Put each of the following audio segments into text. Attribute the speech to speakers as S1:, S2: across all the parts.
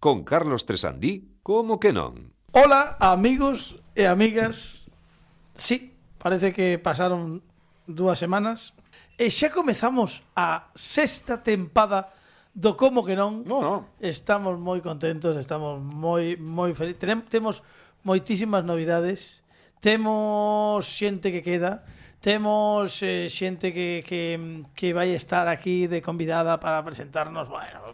S1: con Carlos Tresandí, como que non?
S2: Ola, amigos e amigas. Sí, parece que pasaron dúas semanas e xa comezamos a sexta tempada do como que non.
S1: No, no.
S2: Estamos moi contentos, estamos moi moi felices. Tenem, temos moitísimas novidades. Temos xente que queda, temos eh, xente que que que vai estar aquí de convidada para presentarnos, bueno,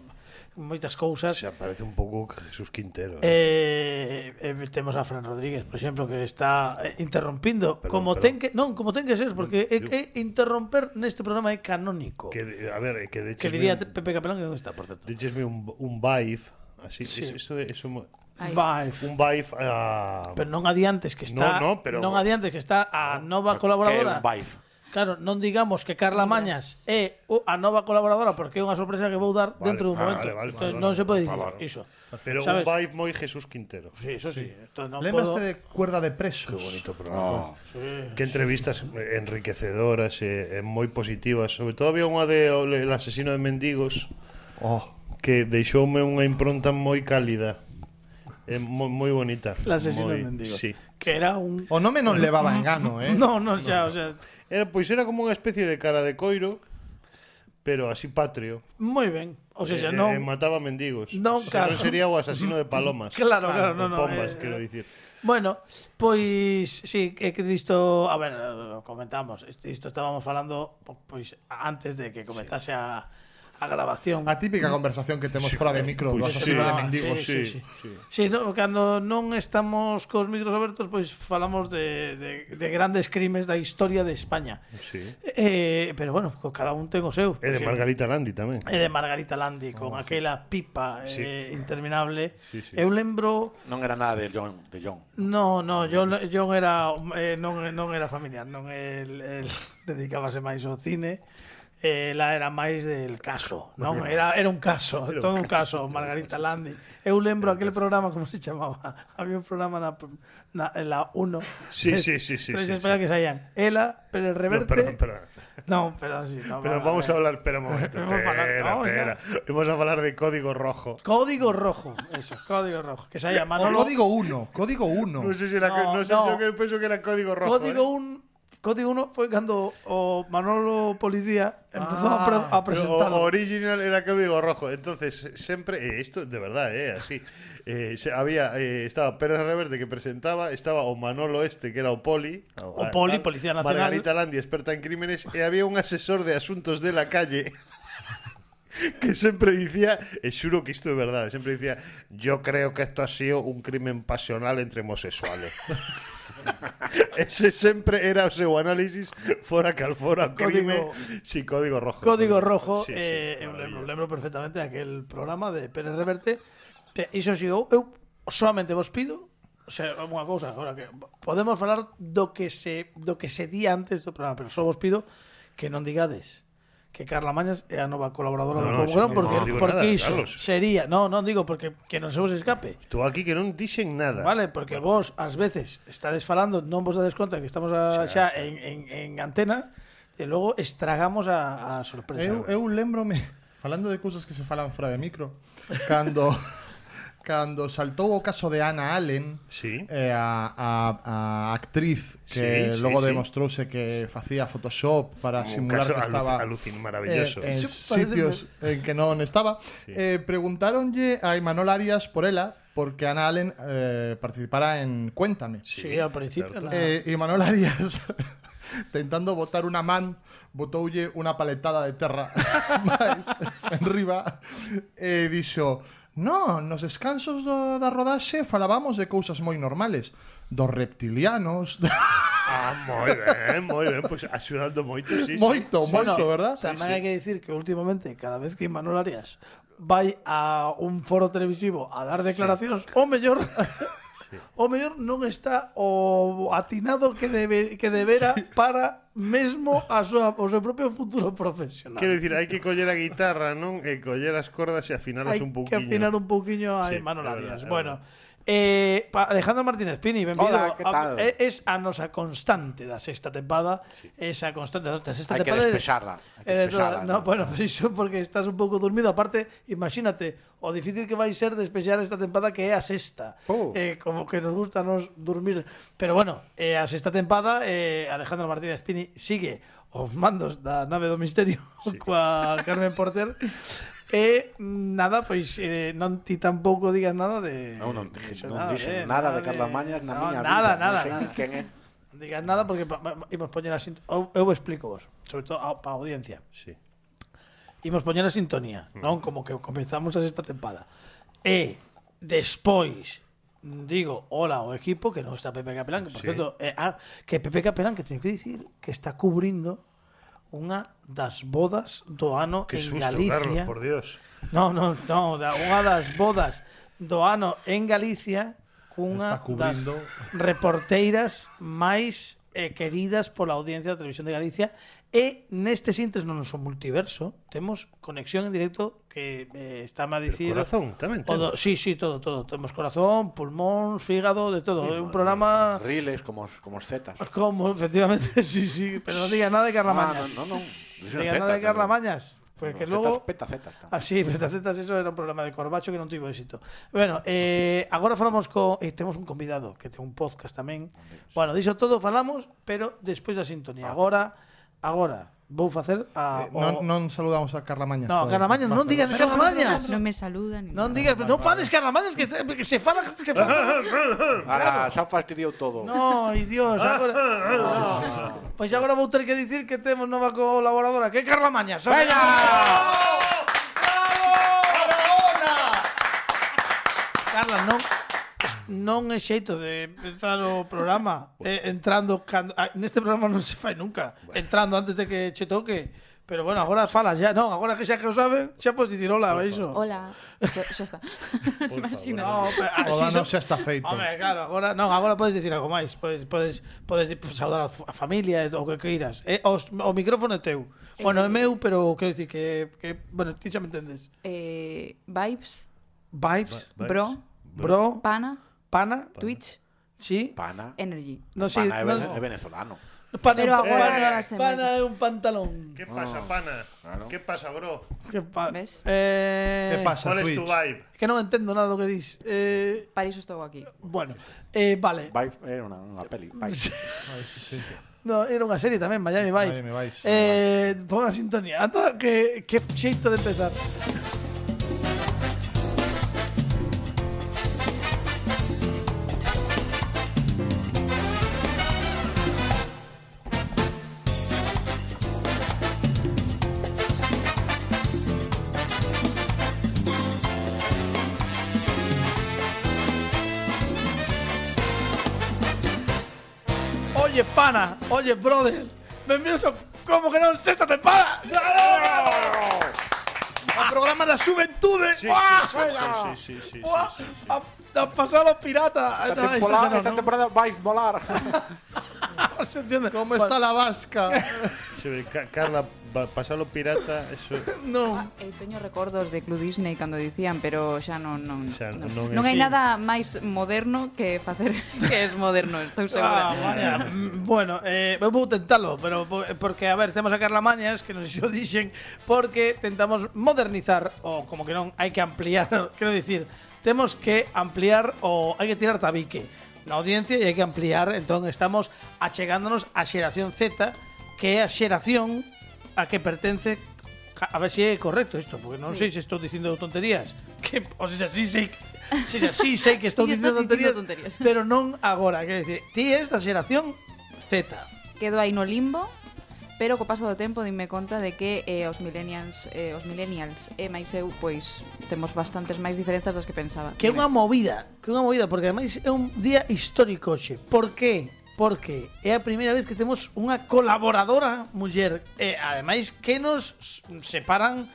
S2: moitas cousas.
S3: Se parece un pouco que Jesús Quintero. eh.
S2: Eh, eh, temos a Fran Rodríguez, por exemplo, que está eh, interrompindo
S3: Perdón,
S2: como ten
S3: perdón.
S2: que, non, como ten que ser, porque é,
S3: Yo-
S2: é interromper neste programa é canónico.
S3: Que,
S2: Que,
S3: de- a ver, eh, que de hecho.
S2: diría Pepe Capelán que non está, por certo.
S3: Díchesme un, un vibe. Así.
S2: Sí.
S3: es- eso, eso, mo-
S4: Ai.
S2: Vai.
S3: un vibe. ah,
S2: Pero non adiantes que está,
S3: No, no, pero-
S2: non adiantes que está a nova colaboradora.
S5: Que é un vibe.
S2: Claro, non digamos que Carla Mañas é o- a nova colaboradora porque é unha sorpresa que vou dar
S3: Vale,
S2: dentro dun
S3: ah,
S2: momento.
S3: vale, vale,
S2: Entón,
S3: vale,
S2: non
S3: vale,
S2: se pode
S5: por
S2: dicir
S5: favor.
S2: iso.
S3: pero
S2: ¿sabes?
S3: un vibe moi Jesús Quintero.
S2: Sí, eso sí. Entón, non
S6: Lémbraste
S2: podo...
S6: de cuerda de presos.
S3: Qué bonito programa. Qué entrevistas enriquecedoras, eh, eh, moi positivas. Sobre todo había unha de o- El asesino de mendigos
S6: Oh,
S3: que deixoume unha impronta moi cálida. É moi, moi bonita.
S2: El asesino
S3: moi,
S2: de mendigos.
S3: Sí.
S2: Que era un
S6: o nome non levaba engano, eh?
S2: No, no, xa, o sea,
S3: Era, pois era como unha especie de cara de coiro, pero así patrio.
S2: moi ben. O sea, xa
S3: Eh,
S2: non
S3: eh, mataba mendigos.
S2: Non,
S3: Se
S2: claro.
S3: non sería o asesino de palomas.
S2: Claro, claro, no,
S3: de
S2: no,
S3: Pombas,
S2: eh,
S3: quero dicir.
S2: Bueno, pois sí, é que disto, a ver, eh, comentamos, isto isto estábamos falando po- pois antes de que comezase a a grabación.
S6: A típica conversación que temos fora de micro do
S3: Pois Eh, pues sí,
S6: asesino de
S2: ah,
S6: mendigos.
S2: sí, sí, Sí, no, cando non estamos cos micros abertos, pois falamos de, de, de grandes crimes da historia de España.
S3: sí.
S2: Eh, pero bueno, co- cada un ten o seu.
S3: E de
S2: Sí.
S3: Margarita Landi tamén.
S2: E de Margarita Landi, con aquela pipa
S3: Oh, Sí.
S2: eh, interminable.
S3: Sí, sí.
S2: Eu lembro...
S5: Non era nada de John, de John.
S2: No, no, John, John era eh, non, non era familiar, non el, el dedicábase máis ao cine. Ela era máis del caso, non? Era, era un caso, era todo un caso, Margarita Landi. Eu lembro aquel programa, como se chamaba? Había un programa na, na, en la 1.
S3: Sí, sí, sí, sí,
S2: Tres
S3: sí,
S2: espera que
S3: sí.
S2: saían. Ela, Pérez
S3: No,
S2: Reverte...
S3: perdón, perdón.
S2: No, perdón, sí. No,
S3: Pero
S2: vale,
S3: vamos a
S2: ver.
S3: hablar, espera un momento.
S2: Vamos a hablar,
S3: Espera,
S2: vamos ya.
S3: espera. Vamos a hablar de código rojo.
S2: Código rojo, eso, código rojo. Que se llama
S6: O código 1, código 1.
S3: No sé si era,
S2: No,
S3: no, sé,
S2: no.
S3: yo que pienso que era código rojo.
S2: Código
S3: eh.
S2: 1 Código 1 foi cando o Manolo Policía empezou a,
S6: Ah,
S2: pre a
S3: Pero
S2: presentar.
S3: o- original era código rojo. Entonces, siempre, eh, esto de verdad, eh, así. Eh, se- había, eh, estaba Pérez Reverte que presentaba, estaba o Manolo Este, que era o Poli.
S2: O Poli, Policía Nacional.
S3: Margarita Landi, experta en crímenes, y había un asesor de asuntos de la calle. Que siempre decía, eh, juro que esto es verdad, siempre decía, yo creo que esto ha sido un crimen pasional entre homosexuales. Ese siempre era o seu análisis fora cal fora o crime.
S2: Código-
S3: Sí, código rojo.
S2: Código Rojo,
S3: Sí, sí,
S2: eh, eu lembro,
S3: maravilla.
S2: lembro perfectamente aquel programa de Pérez Reverte. Que iso si eu, eu solamente vos pido, o sea, unha cousa agora que podemos falar do que se do que se di antes do programa, pero só vos pido que non digades que Carla Mañas é a nova colaboradora
S3: No,
S2: do
S3: no,
S2: Como
S3: eso
S2: Gran,
S3: no
S2: porque,
S3: digo
S2: porque
S3: nada,
S2: iso
S3: Carlos.
S2: sería, no, non digo porque que non se vos escape.
S3: Tú aquí que non dixen nada.
S2: Vale, porque vos ás veces estades falando, non vos dades conta que estamos a, xa en, en, en antena e logo estragamos a, a sorpresa.
S6: Eu, eu lembrome, falando de cousas que se falan fora de micro, cando cando saltou o caso de Ana Allen,
S3: Sí.
S6: eh, a, a, a actriz que
S3: Sí, sí,
S6: logo
S3: sí.
S6: demostrouse que facía Photoshop para
S3: Un caso
S6: simular que
S3: aluc-
S6: estaba
S3: alucin- maravilloso.
S6: eh, en
S2: Eso parece-
S6: sitios en que non estaba, eh, preguntáronlle a Imanol Arias por ela porque Ana Allen eh, participara en Cuéntame.
S2: sí, ao principio na,
S3: certo.
S6: Eh, y Manuel Arias, tentando botar una man, botoulle una paletada de terra máis enriba e dixo No, nos descansos do, da rodaxe falábamos de cousas moi normales Dos reptilianos,
S3: Ah, moi ben, moi ben, pois pues, axudando moito, sí.
S6: moito,
S3: sí.
S6: moito, verdad?
S2: tamén hai que dicir que últimamente cada vez que Manuel Arias vai a un foro televisivo a dar declaracións, o mellor O mellor non está o atinado que debe que debera para mesmo a súa, o seu propio futuro profesional.
S3: Quero dicir, hai que coller a guitarra, non? E coller as cordas e afinalas
S2: Hay
S3: un
S2: que
S3: pouquiño.
S2: afinar un pouquiño a
S3: Sí,
S2: Imanol
S3: é verdad,
S2: Arias.
S3: é
S2: bueno,
S3: verdad.
S2: Eh, pa- Alejandro Martínez Pini, benvido.
S5: Hola, que tal?
S2: A- e- es a nosa constante da sexta tempada, esa constante da sexta
S5: Hai que
S2: tempada. de-
S5: despexarla, hai que
S2: eh, de toda-
S5: despexarla,
S2: no,
S5: non?
S2: bueno, pero iso porque estás un pouco dormido, aparte, imagínate o difícil que vai ser despexar esta tempada que é a sexta.
S5: Oh.
S2: Eh, como que nos gusta nos dormir, pero bueno, eh, a sexta tempada eh, Alejandro Martínez Pini sigue os mandos da nave do misterio coa Carmen Porter. E nada, pois eh, non ti tampouco digas nada de
S5: Non, non dixen-
S2: Eso,
S5: non
S2: eh,
S5: dixen nada de Carla Mañas na
S2: no,
S5: miña
S2: nada,
S5: vida,
S2: Nada,
S5: non sei
S2: nada,
S5: ni quen é.
S2: Non digas nada porque pa- pa- imos poñer a sint- eu, eu explico vos, sobre todo a, pa audiencia.
S3: Sí. Mm.
S2: Imos poñer a sintonía, non? Como que comenzamos a sexta tempada. E despois digo hola ao equipo que non está Pepe Capelán, que por
S3: Sí.
S2: certo, eh, ah, que Pepe Capelán que teño que dicir que está cubrindo unha das bodas do ano
S3: Qué
S2: en
S3: susto,
S2: Galicia.
S3: Carlos, por Dios.
S2: No, no, no, da unha das bodas do ano en Galicia cunha
S6: Está
S2: das
S6: cubrindo.
S2: reporteiras máis eh, queridas pola audiencia da Televisión de Galicia e neste sintes non son multiverso temos conexión en directo que eh, está a dicir
S3: corazón tamén
S2: o do-
S3: temos.
S2: sí, sí, todo, todo temos corazón, pulmón, fígado de todo, é un programa
S5: Riles como os, como os zetas.
S2: como, efectivamente, sí, sí pero non diga nada de Carla
S5: Ah,
S2: Mañas
S5: non, non, non. Dixen
S2: diga nada de
S5: zetas,
S2: pues Carla
S5: non.
S2: Mañas porque
S5: Zetas,
S2: logo
S5: peta zetas. tamén.
S2: Así, Petacetas, eso era un programa de Corbacho que non tivo éxito. Bueno, eh, agora falamos co... Eh, temos un convidado que ten un podcast tamén. Bueno, diso todo falamos, pero despois da sintonía. Agora, agora, vou facer a...
S6: Eh, non, non saludamos a Carla
S2: Ah,
S6: Mañas.
S2: No,
S6: todavía.
S2: Carla Mañas, non
S6: Vale.
S2: digas Carla Mañas.
S4: No me saludan. ni
S2: Non
S4: nada.
S2: digas, non fales Carla Mañas, que, te- que se fala... Que se fala.
S5: Ala, xa fastidiou todo.
S2: No, ai, Dios, agora... No. Pois agora vou ter que dicir que temos nova colaboradora, que é Carla Mañas.
S5: Veña!
S2: Carla, non non é xeito de empezar o programa eh, entrando cando, ah, neste programa non se fai nunca entrando antes de que che toque pero bueno, agora falas ya, non, agora que xa que o saben xa podes dicir hola, veixo
S4: Hola. Ya, ya está. Así no.
S2: No, pero así
S6: Hola, non
S2: so-
S6: xa está feito.
S2: Home, claro, agora, non, agora podes dicir algo máis, podes podes podes pues, saudar a, f- a familia e o que queiras. Eh, os, o micrófono é teu. Bueno, é meu, pero quero dicir que que bueno, ti xa me entendes.
S4: Eh, vibes,
S2: Vibes,
S4: bro,
S2: bro,
S4: pana,
S2: pana,
S4: Twitch,
S2: sí.
S5: Pana.
S4: energy.
S2: No sé,
S5: pana é,
S2: no-
S5: vene- é venezolano.
S2: Pana,
S4: Pero agora
S2: pana-
S4: non se
S2: pana
S4: mete.
S2: é eh, un pantalón.
S3: ¿Qué pasa, pana?
S5: claro.
S3: ¿Qué pasa, bro?
S2: Que pa-
S4: Ves?
S2: Eh,
S6: Que pasa,
S3: ¿Cuál es tu
S6: Twitch?
S3: vibe?
S2: Que non entendo nada do que dis. Eh,
S4: Para iso estou aquí.
S2: bueno, eh, vale.
S5: Vai, é unha, unha peli. Vai.
S2: No, era unha serie tamén, Miami Vice.
S6: Miami Vice.
S2: Eh, pon a sintonía. Ata que, que xeito de empezar. Oye, pana, oye, brother. Benvidos a como que non sexta tempada. O programa da xuventude.
S3: Sí,
S2: Uah,
S3: sí, sí, sí, sí, sí, sí,
S2: uah,
S3: sí, sí.
S2: A, a pasar a los piratas.
S5: Esta
S2: No, esto
S5: temporada,
S2: ya no,
S5: esta
S2: ¿no?
S5: temporada vai molar.
S2: ¿Se entiende?
S6: Como está la vasca?
S3: Se ve, Ca- Carla, va- pasalo pirata, eso
S2: No.
S4: Eu teño recordos Eh, de Club Disney cando dicían, pero xa non non,
S3: Xa
S4: non,
S3: non
S4: non,
S3: é
S4: hai
S3: así.
S4: nada máis moderno que facer que es moderno, estou
S2: Ah,
S4: segura.
S2: vaya. Mm, Bueno, eh, vou tentarlo, pero po- porque, a ver, temos a Carla Mañas que nos xo dixen porque tentamos modernizar o como que non hai que ampliar, quero dicir, temos que ampliar o hai que tirar tabique na audiencia e hai que ampliar, entón estamos achegándonos á xeración Z, que é a xeración a que pertence ca- a ver se é correcto isto, porque non sei se estou dicindo tonterías, que o se así sei que- se así sei que estou
S4: Sí,
S2: dicindo
S4: estás
S2: tonterías,
S4: dicindo tonterías.
S2: pero non agora, quero dicir, ti és da xeración Z.
S4: Quedo aí no limbo, pero co paso do tempo dime conta de que eh, os millennials, eh, os millennials e máis eu, pois temos bastantes máis diferenzas das que pensaba.
S2: Que é unha movida, que é unha movida, porque ademais é un día histórico hoxe. Por qué? Porque é a primeira vez que temos unha colaboradora muller e ademais que nos s- separan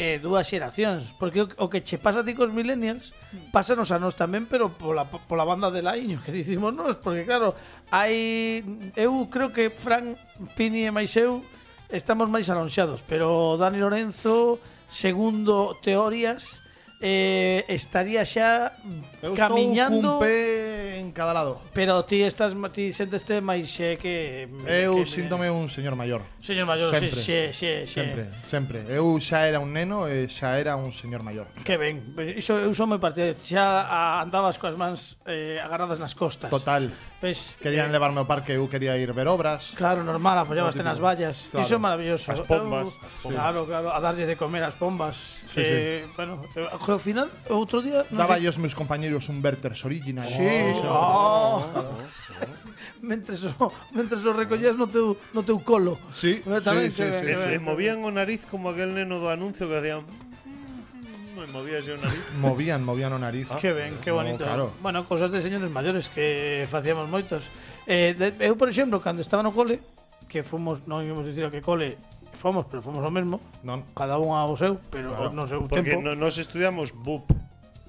S2: eh, dúas xeracións, porque o, o que che pasa a ti cos millennials,
S4: Mm.
S2: pásanos a nós tamén, pero pola, pola banda de laiño que dicimos nós, porque claro, hai eu creo que Fran Pini e máis eu estamos máis alonxados, pero Dani Lorenzo, segundo teorías, eh, estaría xa
S6: Eu estou
S2: camiñando
S6: cun pé en cada lado.
S2: Pero ti estás ti senteste máis xe que mm,
S6: Eu
S2: que-
S6: síntome un señor maior.
S2: Señor maior, xe,
S6: Sempre.
S2: xe, xe, xe.
S6: Sempre, sempre. Eu xa era un neno e xa era un señor maior.
S2: Que ben, iso eu sou moi partidario. Xa ah, andabas coas mans eh, agarradas nas costas.
S6: Total.
S2: Ves, eh,
S6: Querían levarme ao parque, eu quería ir ver obras.
S2: Claro, normal, apoyabaste nas vallas.
S6: Claro.
S2: Iso é maravilloso.
S3: As pombas.
S2: Eu- Claro, claro, a darlle de comer as pombas.
S6: Sí,
S2: eh, Bueno, eu- ao final, outro día... non
S6: Daba
S2: sei-
S6: aos meus compañeros un Werther's original. Eh,
S2: Sí, oh. mentres, o, mentres o recollías no teu, no teu colo.
S6: Sí,
S2: Eh, tamén
S6: sí,
S2: que-
S6: sí, sí,
S2: que-
S6: sí.
S3: Le movían o nariz como aquel neno do anuncio que hacían. Mm, Me movía yo o nariz.
S6: Movían, movían o nariz.
S2: Que ben, que bonito. ¿eh?
S6: No, claro.
S2: Bueno, cosas de señores maiores que facíamos moitos. Eh, de, eu, por exemplo, cando estaba no cole, que fomos, non íamos dicir a que cole, fomos, pero fomos o mesmo,
S6: Non.
S2: cada un ao seu, pero
S6: Claro,
S2: claro, no seu
S3: Porque
S2: tempo.
S3: no, nos estudiamos BUP.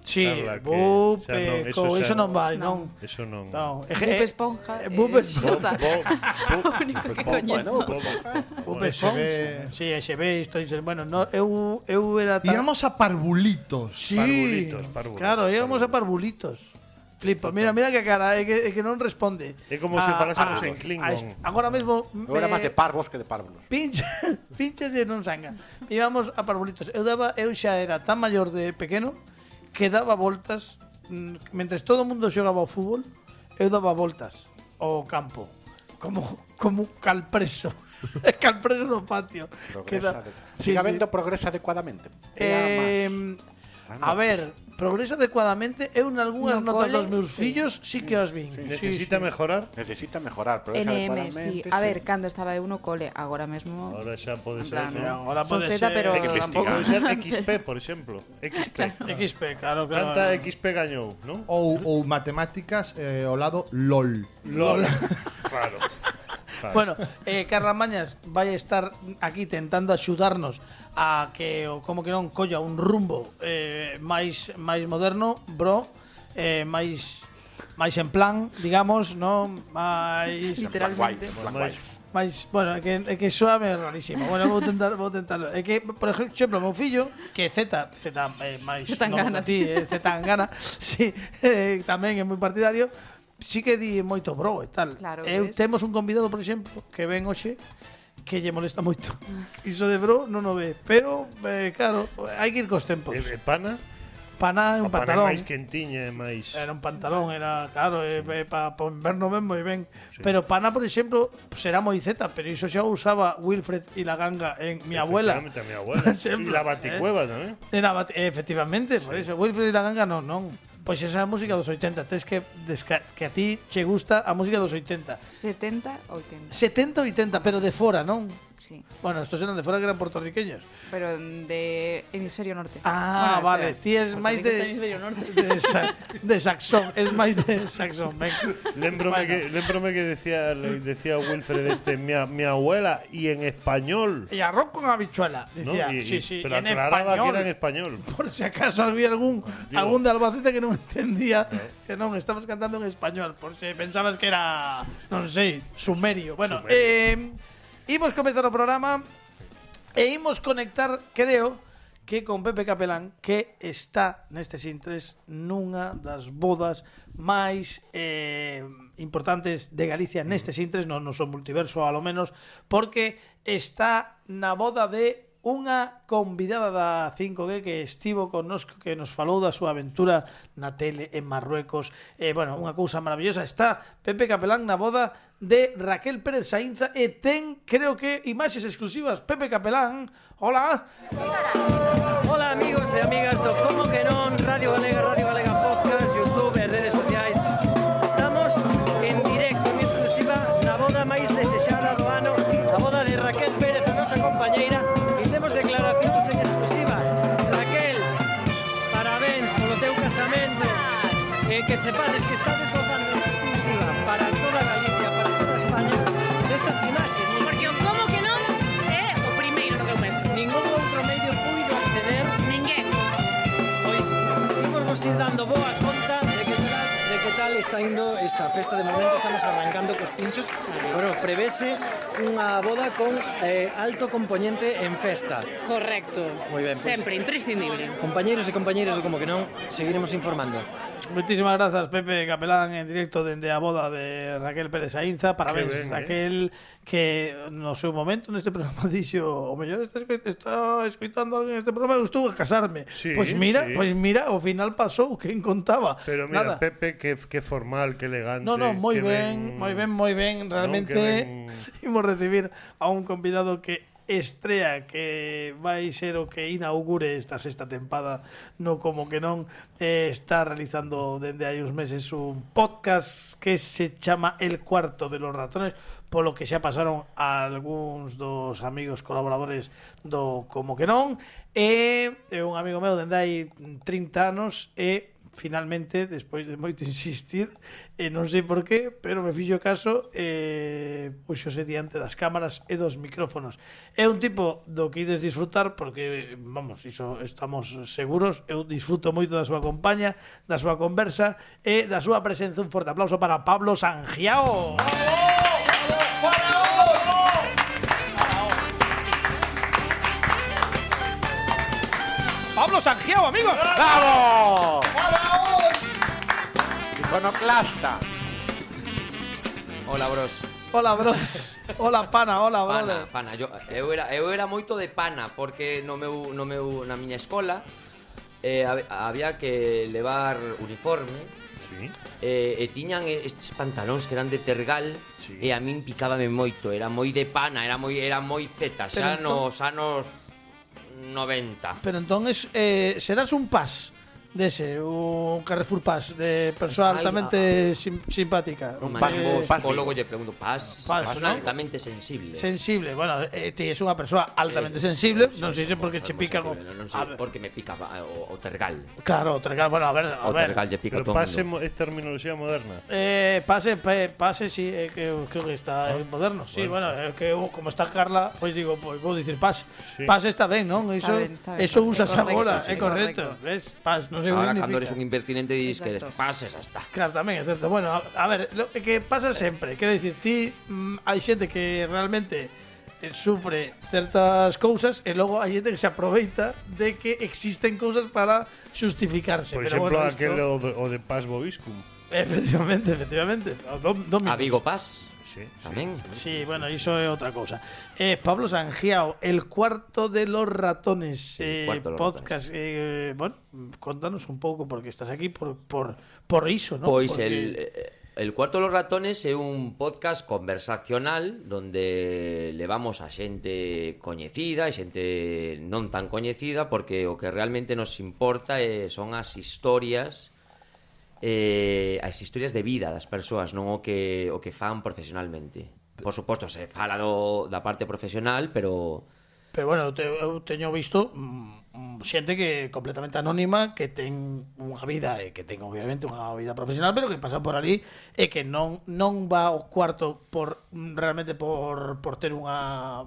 S2: sí,
S3: Carla, que
S2: bupe,
S3: xa non- eso
S2: co,
S3: xa
S2: iso non
S3: non-
S2: vai, non.
S3: Eso non.
S2: Non, eh,
S4: Bupe
S2: eh,
S4: esponja. eh,
S2: Bupe esponja.
S4: xa está.
S3: Bo- bo-
S4: O único que
S5: Bo-
S4: coñezo.
S5: Bueno, pues,
S2: Bupe
S6: se
S2: esponja.
S6: ve-
S2: Sí, se ve, isto dice, bueno, no, eu, eu era tan...
S6: Íamos a parvulitos.
S2: Sí,
S3: Parvulitos, parvulos,
S2: claro, íbamos a parvulitos. Flipa, mira, mira que cara, é que, é que non responde. Ah,
S3: É como se falásemos en Klingon.
S2: a est- agora mesmo
S5: eu era máis de parvos que de parvos.
S2: pincha, pincha de non sanga. Íbamos a parvulitos. Eu daba, eu xa era tan maior de pequeno que daba voltas mm, mentres todo o mundo xogaba ao fútbol, eu daba voltas ao campo. Como como un calpreso. calpreso no patio. Que da-
S5: Progresa. De...
S2: Sí,
S5: Siga
S2: sí.
S5: vendo progresa adecuadamente. Era máis.
S2: Eh,
S5: Era
S2: a
S5: máis.
S2: ver, progresa adecuadamente Eu nalgúnas
S4: No
S2: notas
S4: cole,
S2: dos meus
S4: sí.
S2: fillos Si que as vin
S3: Necesita mejorar.
S5: Necesita mejorar, progresa
S4: NM, sí.
S5: adecuadamente.
S4: A ver, cando estaba eu no cole, agora mesmo...
S3: Ahora xa pode
S4: En
S3: ser.
S4: plan,
S3: ¿no?
S2: Agora
S4: Son
S2: pode
S4: Z,
S2: ser
S4: pero
S5: Hay que
S4: tampouco...
S5: investigar.
S3: Pode ser XP, por exemplo. XP.
S2: XP, claro, claro
S3: Canta XP gañou, non?
S6: Ou, ou matemáticas eh, ao lado LOL.
S3: LOL. claro. Claro.
S2: Bueno, eh, Carla Mañas vai estar aquí tentando axudarnos a que o como que non colla un rumbo eh, máis máis moderno, bro, eh, máis máis en plan, digamos, non máis
S4: Literalmente.
S5: En plan guai,
S3: Máis-
S5: en plan guai.
S2: Mais, bueno, é que, é que suame rarísimo. Bueno, vou tentar, vou tentarlo. É que, por exemplo, meu fillo, que é Z, Z eh, máis
S4: Z
S2: novo
S4: Tangana.
S2: que ti, eh, Z Tangana, si, eh, tamén é moi partidario, sí que di moito bro e tal.
S4: Claro,
S2: Eu,
S4: ves.
S2: temos un convidado, por exemplo, que ven hoxe, que lle molesta moito. Iso de bro non o ve, pero, eh, claro, hai que ir cos tempos.
S3: E- e pana,
S2: Paná é Pues un
S3: a pana é
S2: pantalón.
S3: máis quentiña e máis
S2: Era un pantalón, era claro, para pa inverno mesmo e ben. Pero pana, por exemplo, será moi zeta, pero iso xa usaba Wilfred e la ganga en mi abuela.
S3: Efectivamente, a mi abuela.
S2: Por exemplo,
S3: E la baticueva tamén.
S2: Era bat- eh, efectivamente, por iso Wilfred e la ganga non, non. Pois esa é a música dos 80, tes que desca- que a ti che gusta a música dos 80.
S4: 70, 80.
S2: 70 80, pero de fora, non?
S4: Sí.
S2: Bueno, estos eran de fora que eran puertorriqueños.
S4: Pero de hemisferio norte.
S2: Ah,
S4: Bueno,
S2: vale,
S4: espera.
S2: ti es
S4: Porque
S2: máis
S4: ten que
S2: de
S4: ser hemisferio norte.
S2: de, sa- de saxón, es máis de saxón, ven.
S3: Lembrome que, lembrome que decía, le- decía Wilfred este, mi, a- mi abuela, y en español.
S2: Y arroz con habichuela.
S3: ¿no?
S2: Decía,
S3: Y-
S2: sí,
S3: y-
S2: sí,
S3: pero
S2: en
S3: aclaraba que
S2: español.
S3: era en español.
S2: Por si acaso había algún,
S3: Digo.
S2: algún de Albacete que no entendía. Que no, estamos cantando en español. Por si pensabas que era, no sé, sumerio. Bueno,
S3: Sumerio.
S2: eh, imos comenzar o programa e imos conectar, creo, que con Pepe Capelán, que está neste Sintres nunha das bodas máis eh, importantes de Galicia neste Sintres, non no son multiverso, a lo menos, porque está na boda de unha convidada da 5G que estivo connosco, que nos falou da súa aventura na tele en Marruecos. Eh, bueno, unha cousa maravillosa. Está Pepe Capelán na boda de Raquel Pérez Sainza e ten, creo que, imaxes exclusivas. Pepe Capelán, hola.
S7: Hola amigos e amigas do Como que non Radio Galega, Radio Galega Podcast, Youtube e redes sociais Estamos en directo, en exclusiva, na boda máis desexada do ano A boda de Raquel Pérez, a nosa compañeira E temos declaracións en exclusiva Raquel, parabéns polo teu casamento E que sepades que estás gozando en exclusiva Para toda Galicia, para toda España Destas imaxes
S8: Porque o como que non é o primeiro no que eu penso.
S7: Ningún outro medio puido acceder
S8: Ninguén.
S7: Pois, imos vos ir dando boa conta de que tal, de que tal tal está indo esta festa de momento estamos arrancando cos pinchos bueno, prevese unha boda con eh, alto componente en festa
S8: Correcto.
S7: Muy bien, pues.
S8: Siempre, imprescindible.
S7: compañeros e compañeiras do como que non seguiremos informando
S2: Muchísimas gracias, Pepe Capelán, en directo desde a boda de Raquel Pérez Ainza. Parabéns,
S3: Que ben, eh.
S2: Raquel, que no sé, un momento neste programa dixo o mellor está, escu está escuitando alguén este programa eu estou a casarme.
S3: Sí,
S2: pois mira,
S3: sí.
S2: pois mira, ao final pasou, quen contaba?
S3: Pero mira,
S2: Nada.
S3: Pepe, qué, qué formal, qué elegante.
S2: No, no, moi
S3: qué
S2: ben, moi ben, moi ben. Realmente
S3: que ben-
S2: imos recibir a un convidado que estrea que vai ser o que inaugure esta sexta tempada no como que non eh, está realizando dende hai uns meses un podcast que se chama El Cuarto de los Ratones polo que xa pasaron algúns dos amigos colaboradores do como que non e é un amigo meu dende hai 30 anos e finalmente, despois de moito insistir, e non sei por qué, pero me fixo caso e puxose diante das cámaras e dos micrófonos. É un tipo do que ides disfrutar porque, vamos, iso estamos seguros, eu disfruto moito da súa compañía, da súa conversa e da súa presenza. Un forte aplauso para Pablo Sangiao. Pablo Sangiao, amigos.
S5: ¡Bravo! Iconoclasta.
S9: Hola, bros.
S2: Hola, bros. Hola, pana. Hola, brother.
S9: Pana, pana. Yo, eu, era, eu era moito de pana, porque no meu, no meu, na miña escola eh, habe- había que levar uniforme
S3: Sí.
S9: eh, e tiñan e- estes pantalóns que eran de tergal sí. e a min picábame moito, era moi de pana, era moi era moi zeta, xa
S2: Pero entón-
S9: nos anos 90.
S2: Pero entonces, eh, serás un pas dese, un Carrefour Pass de persona
S9: Ay,
S2: altamente sim- simpática.
S9: Un
S5: pas,
S2: Eh,
S5: un pas.
S9: psicólogo lle pregunto, pas,
S2: Pas,
S9: pas,
S2: ¿no?
S9: altamente sensible.
S2: sensible. Bueno, eh, ti es una persona altamente
S9: Eh,
S2: sensible.
S9: sí,
S2: no sé si
S9: somos-
S2: porque te
S9: somos
S2: pica.
S9: sensibles,
S2: con- a
S9: non sei,
S2: ver,
S9: porque me picaba o, o tergal.
S2: claro, Tergal, bueno, a ver, a
S9: O
S2: ver.
S9: tergal lle pica a
S3: Pero
S9: todo
S3: pase
S9: mundo.
S3: mo- es terminología moderna.
S2: Eh, pase, pe- pase, sí, eh, que, creo que está
S9: Ah.
S2: eh, moderno. Sí, bueno, eh, que uh, como está Carla, pues digo, pues puedo decir pase.
S3: Sí.
S2: Pase está bien, ¿no?
S4: Está
S2: eso
S4: ben, está ben.
S2: eso usas
S4: É correcto,
S2: ahora,
S4: sí,
S2: es correcto.
S4: correcto.
S2: ¿Ves? Paz, no sé qué
S9: Ahora,
S2: significa.
S9: cando eres un impertinente, dices que eres
S4: Exacto.
S9: pases hasta.
S2: Claro, tamén é certo. Bueno, a, a ver, lo que pasa sempre, quero dicir, ti mm, hai xente que realmente eh, sufre certas cousas e logo hai xente que se aproveita de que existen cousas para xustificarse.
S3: Por
S2: Pero
S3: ejemplo,
S2: bueno,
S3: aquel
S2: isto-
S3: o de, o de Paz Boviscum.
S2: Efectivamente, efectivamente. O dom- Dominus.
S9: A Vigo Paz,
S3: Sí, sí.
S9: tamén.
S2: Sí, bueno, iso é outra cousa. Eh, Pablo Sangiao, El cuarto de los ratones, eh,
S9: cuarto de los
S2: podcast. Eh, bueno, contanos un pouco porque estás aquí por por por iso, ¿no?
S9: Pois
S2: Porque-
S9: el, eh, el Cuarto de los Ratones é un podcast conversacional donde levamos a xente coñecida e xente non tan coñecida porque o que realmente nos importa eh, son as historias eh, as historias de vida das persoas, non o que o que fan profesionalmente. Por suposto, se fala do, da parte profesional, pero
S2: Pero bueno, eu te, eu teño visto mm, mm, xente que é completamente anónima que ten unha vida e que ten obviamente unha vida profesional, pero que pasa por ali e que non non va ao cuarto por mm, realmente por por ter unha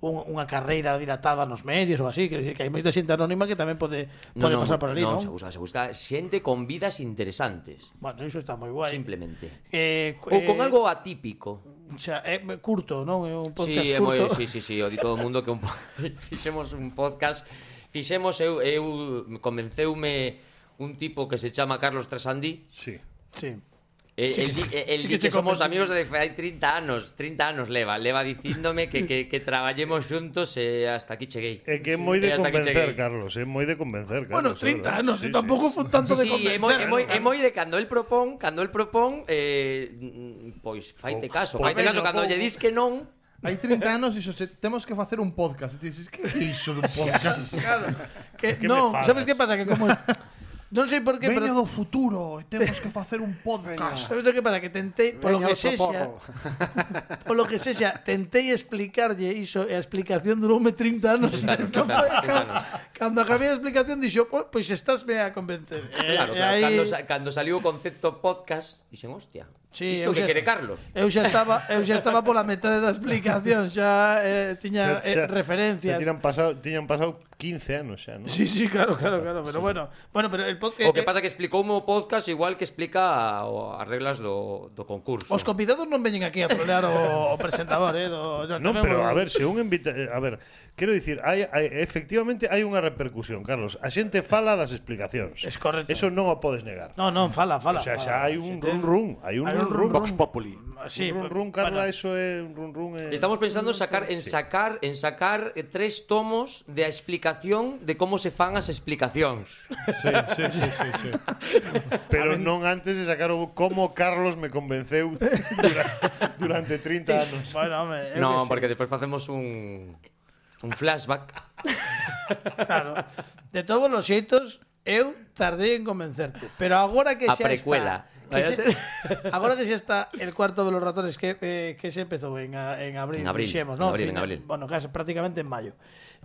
S2: un- unha carreira dilatada nos medios ou así, quero dicir que hai moita xente anónima que tamén pode pode pasar por ali, non?
S9: se busca, se busca xente con vidas interesantes,
S2: Bueno, iso está moi guai.
S9: simplemente.
S2: Eh,
S9: Ou con
S2: eh,
S9: algo atípico.
S2: O sea, é curto, non? É un podcast
S9: sí, é moi-
S2: curto.
S9: sí, sí, sí, o di todo o mundo que un, po- fixemos un podcast, fixemos eu, eu convenceume un tipo que se chama Carlos Trasandí,
S3: Sí.
S2: sí.
S9: Eh,
S2: Sí que-
S9: el, di- eh, el
S2: sí
S9: di
S2: que
S9: que
S2: che
S9: somos
S2: convencí.
S9: amigos de hai 30 anos, 30 anos leva, leva dicíndome que, que, que traballemos xuntos e hasta aquí cheguei.
S3: Es que es muy
S9: Sí,
S3: de
S9: hasta aquí
S3: convencer,
S9: cheguei.
S3: Carlos. Es muy de convencer, Carlos.
S2: Bueno, eh, 30
S3: claro.
S2: anos,
S3: Sí, sí.
S2: tampouco fun tanto de
S9: Sí, é moi, é moi, é moi de cando el propón, cando el propón, eh, mm, pois faite
S2: Oh,
S3: O-
S9: caso,
S3: por
S9: faite caso,
S3: menos,
S9: cando
S3: ou-
S9: lle dis que non,
S6: Hai 30 anos e xose, temos que facer un podcast. E ti dices, que é iso dun podcast?
S2: Claro. Que,
S3: Que me
S2: no,
S3: falas.
S2: ¿sabes qué pasa? Que como. No sé por qué,
S6: Veña
S2: pero.
S6: do futuro e temos que facer un podcast.
S2: ¿Sabes lo que pasa? Que tenté, por lo
S5: Veña
S2: que
S5: outro
S2: sé
S5: porro.
S2: por lo que sé tenté explicarlle iso e a eh, explicación duroume 30 anos.
S9: 30 anos,
S2: Non
S9: 30
S2: foi-
S9: anos, 30 anos.
S2: Cando acabé a explicación dixo, "Oh, pois estás me a convencer.
S9: Claro,
S2: E
S9: claro.
S2: aí-
S9: Cando, sa- cando saliu o concepto podcast, dixen, hostia,
S2: Sí,
S9: Isto
S2: eu
S9: que
S2: xa-
S9: quere Carlos.
S2: Eu xa estaba, eu xa estaba pola metade da explicación, xa eh, tiña eh,
S3: Xa- xa-
S2: referencias.
S3: Xa tiñan pasado, tiñan pasado 15 anos xa, non?
S2: Sí, sí, claro, claro, claro, pero bueno, bueno, pero el eh, podcast
S9: O que pasa que explicou o podcast igual que explica o- as reglas do, do concurso.
S2: Os convidados non veñen aquí a trolear o, o presentador, eh, do, do-
S3: No,
S2: tamén vou-
S3: pero a ver, se un invita, eh, a ver, quero dicir, hai, hai efectivamente hai unha repercusión, Carlos. A xente fala das explicacións.
S2: Es correcto.
S3: Eso non o podes negar.
S2: No, non, fala, fala.
S3: o sea,
S2: fala.
S3: xa hai un
S2: Si te-
S3: run run, hai un
S2: Hai un
S3: run run.
S2: run-run.
S5: Vox Populi.
S2: Sí,
S3: un
S2: bueno,
S3: run run, Carla, eso é un run run. Eh.
S9: Estamos pensando en sacar en sacar en sacar eh, tres tomos de a explicación de como se fan as explicacións.
S6: Sí, sí, sí, sí, sí.
S3: Pero non antes de sacar o como Carlos me convenceu durante, durante 30 anos.
S2: Bueno, home, eu que
S9: No,
S2: sei,
S9: porque despois facemos un un flashback.
S2: claro. De todos os xeitos, eu tardei en convencerte, pero agora que
S9: A
S2: xa
S9: precuela.
S2: está que
S9: Vaya
S2: xa-
S9: ser.
S2: Agora que xa está el cuarto de los ratones que, eh, que se empezou en, a- en abril,
S9: En abril,
S2: dixemos,
S9: en
S2: ¿no?
S9: abril,
S2: Fin-
S9: en abril.
S2: Bueno, casi prácticamente en mayo.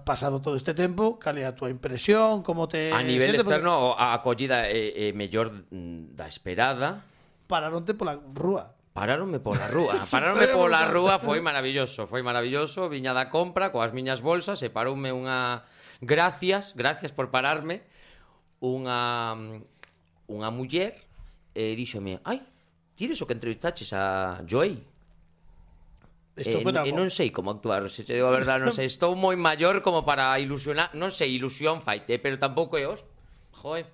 S2: Pasado todo este tempo, cal é a tua impresión, como te
S9: A nivel
S2: sientes? Eh, Porque
S9: externo a acollida é, é mellor mm, da esperada.
S2: Pararonte pola rúa.
S9: Paráronme pola rúa, paráronme pola rúa, foi maravilloso, foi maravilloso, viña da compra coas miñas bolsas e paroume unha gracias, gracias por pararme, unha mm, unha muller e díxome, "Ai, tires o que entrevistaches a Joey?"
S2: Isto
S9: e,
S2: foi na
S9: e
S2: bo-
S9: non sei como actuar, se te digo a verdade, non sei, estou moi maior como para ilusionar, non sei, ilusión faite, pero tampouco é os, joe,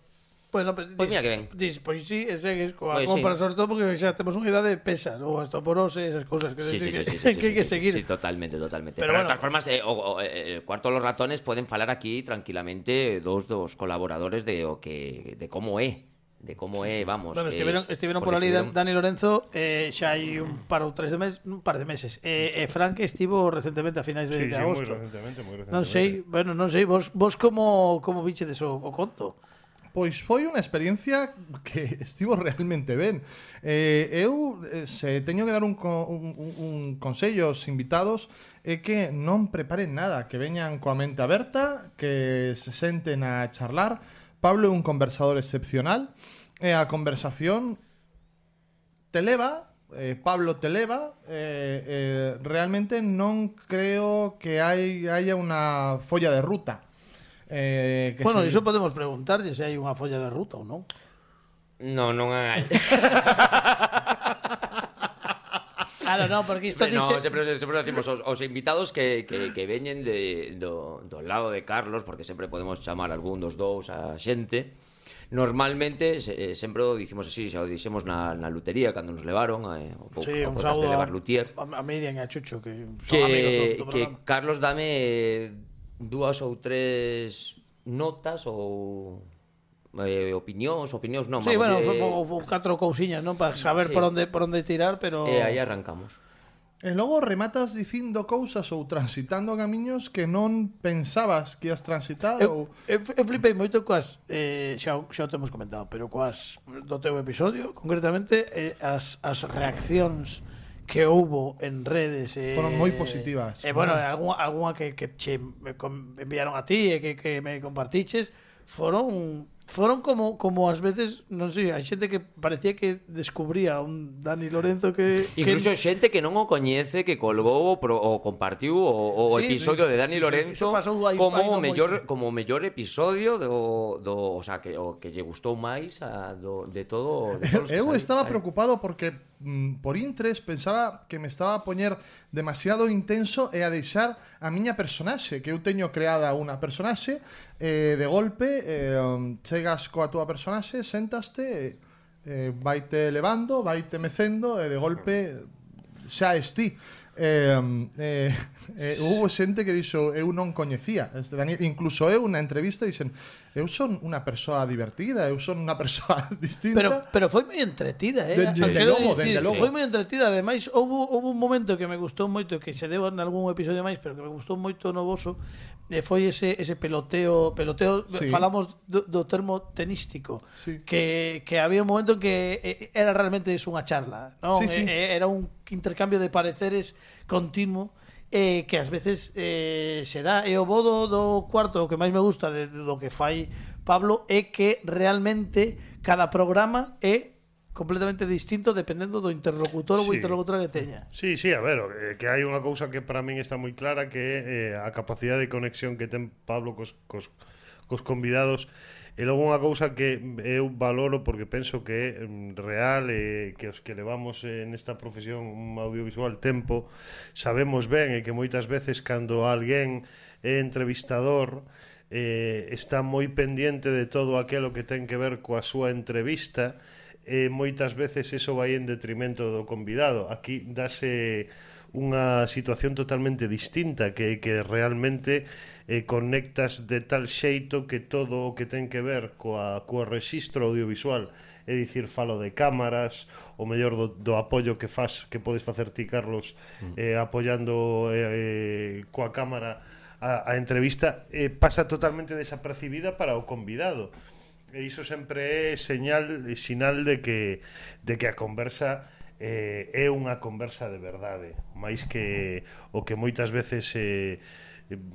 S2: Bueno, pues,
S9: Pois mira que ben.
S2: Dis, pois sí, e segues coa
S9: Pois sí.
S2: compra, sobre todo porque xa temos unha idade de pesas, ou osteoporose, esas cousas que,
S9: Sí, sí,
S2: decir
S9: sí,
S2: que, que
S9: sí, sí, sí,
S2: hai que
S9: sí,
S2: seguir.
S9: sí, totalmente, totalmente.
S2: Pero bueno.
S9: Pero, de todas formas, eh, o, o, eh, el cuarto de los ratones poden falar aquí tranquilamente dos dos colaboradores de o que de como é, de como é, vamos.
S2: Bueno,
S9: que-
S2: estiveron, estiveron por
S9: porque
S2: ali
S9: estiveron-
S2: Dani Lorenzo eh, xa hai un par ou tres de mes, un par de meses. E eh, eh, Frank estivo recentemente a finais de, de
S3: Sí, sí, moi
S2: agosto.
S3: recentemente, moi recentemente.
S2: non sei, bueno, non sei, vos vos como como viche deso o conto?
S6: Pois foi unha experiencia que estivo realmente ben. Eh, eu eh, se teño que dar un, co- un, un- un consello aos invitados é que non preparen nada, que veñan coa mente aberta, que se senten a charlar. Pablo é un conversador excepcional e a conversación te leva, eh, Pablo te leva, eh, eh, realmente non creo que hai, haya unha folla de ruta. Eh, que
S2: Bueno,
S6: se-
S2: iso podemos preguntarlle se hai unha folla de ruta ou non.
S9: No, non hai.
S2: Claro, non, porque isto
S9: Sempre, no,
S2: dice
S9: sempre, sempre decimos os, os invitados que, que, que veñen de, do, do lado de Carlos, porque sempre podemos chamar algún dos dous a xente, normalmente se, eh, sempre o dicimos así, xa o dixemos na, na lutería cando nos levaron, eh, o, po-
S2: Sí,
S9: o
S2: un
S9: podcast
S2: saúdo
S9: de
S2: a,
S9: Levar Lutier.
S2: a, a Miriam e a Chucho que son amigos
S9: que,
S2: do, do
S9: que
S2: programa.
S9: Carlos dame dúas ou tres notas ou eh, opinións, opinións non,
S2: Sí, bueno,
S9: vamos,
S2: foi
S9: eh,
S2: como como catro cousiñas, non, para saber
S9: Sí.
S2: por onde por onde tirar, pero
S9: eh, aí arrancamos.
S6: E logo rematas dicindo cousas ou transitando camiños que non pensabas que ias transitar
S2: Eu,
S6: ou...
S2: eu, eu flipei moito coas eh, xa, o- xa o temos comentado, pero coas do teu episodio, concretamente eh, as, as reaccións que houbo en redes eh,
S6: Foron moi positivas.
S2: E eh, bueno, algunha, algunha que, que che me com- enviaron a ti e que, que me compartiches foron foron como como ás veces, non sei, hai xente que parecía que descubría un Dani Lorenzo que
S9: Incluso
S2: que,
S9: xente que non o coñece que colgou o, pro, o compartiu o, o
S2: Sí,
S9: episodio
S2: sí.
S9: de Dani
S2: Iso- iso
S9: Lorenzo
S2: pasou aí-
S9: como
S2: aí
S9: o
S2: no moi-
S9: mellor como o mellor episodio do, do o sea que o que lle gustou máis a, do, de todo de todos os que
S6: Eu
S9: sali-
S6: estaba
S9: sali-
S6: preocupado porque mm, por intres pensaba que me estaba a poñer demasiado intenso e a deixar a miña personaxe, que eu teño creada unha personaxe, eh, de golpe eh, um, chegas coa túa personaxe, sentaste, eh, vaite levando, vaite mecendo e de golpe xa estí. Eh, eh, eh, houve xente que dixo eu non coñecía este Daniel, incluso eu na entrevista dixen eu son unha persoa divertida, eu son unha persoa distinta.
S2: Pero, pero foi moi entretida, eh?
S6: Dende
S2: Quero
S6: logo, dende logo.
S2: Foi moi entretida, ademais, houve, houve un momento que me gustou moito, que se deu en algún episodio máis, pero que me gustou moito no voso, e foi ese, ese peloteo, peloteo
S6: Sí.
S2: falamos do, do termo tenístico,
S6: Sí.
S2: que, que había un momento en que eh, era realmente es unha charla, non?
S6: Sí, sí.
S2: Eh, Era un intercambio de pareceres continuo, eh, que ás veces eh, se dá e o bodo do cuarto o que máis me gusta de, de, do que fai Pablo é que realmente cada programa é completamente distinto dependendo do interlocutor ou
S3: Sí.
S2: interlocutora que teña.
S3: Sí, sí, a ver, eh, que hai unha cousa que para min está moi clara que é eh, a capacidade de conexión que ten Pablo cos, cos, cos convidados e logo unha cousa que eu valoro porque penso que é mm, real e que os que levamos eh, nesta profesión un audiovisual tempo sabemos ben e que moitas veces cando alguén é entrevistador eh, está moi pendiente de todo aquilo que ten que ver coa súa entrevista e moitas veces eso vai en detrimento do convidado. Aquí dase unha situación totalmente distinta que, que realmente eh, conectas de tal xeito que todo o que ten que ver coa, coa rexistro audiovisual é dicir, falo de cámaras o mellor do, do apoio que fas que podes facer ti, Carlos eh, apoiando eh, eh, coa cámara a, a entrevista eh, pasa totalmente desapercibida para o convidado e iso sempre é señal e sinal de que de que a conversa eh, é unha conversa de verdade, máis que o que moitas veces eh,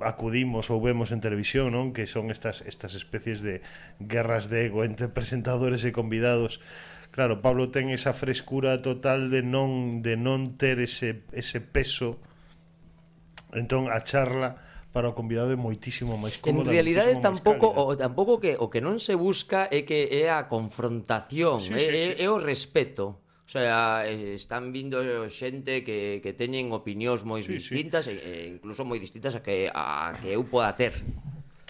S3: acudimos ou vemos en televisión, non, que son estas estas especies de guerras de ego entre presentadores e convidados. Claro, Pablo ten esa frescura total de non de non ter ese ese peso. Entón a charla para o convidado é moitísimo máis
S9: En
S3: cómoda.
S9: realidade
S3: moitísimo máis
S9: tampouco
S3: cálida.
S9: o tampouco que o que non se busca é que é a confrontación,
S3: Sí,
S9: é,
S3: sí,
S9: é-
S3: sí.
S9: é o respeto. O sea, eh, están vindo xente que, que teñen opinións moi
S3: Sí, sí.
S9: distintas e, e incluso moi distintas a que a que eu poda ter.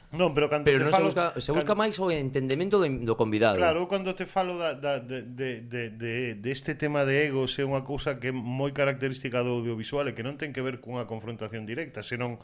S3: Non, pero cando te
S9: Pero non se
S3: falo,
S9: busca, se busca
S3: cando-
S9: máis o entendemento do, do convidado.
S3: Claro, eu cando te falo da, da, de, de, de, de, de este tema de egos é unha cousa que é moi característica do audiovisual e que non ten que ver cunha confrontación directa, senón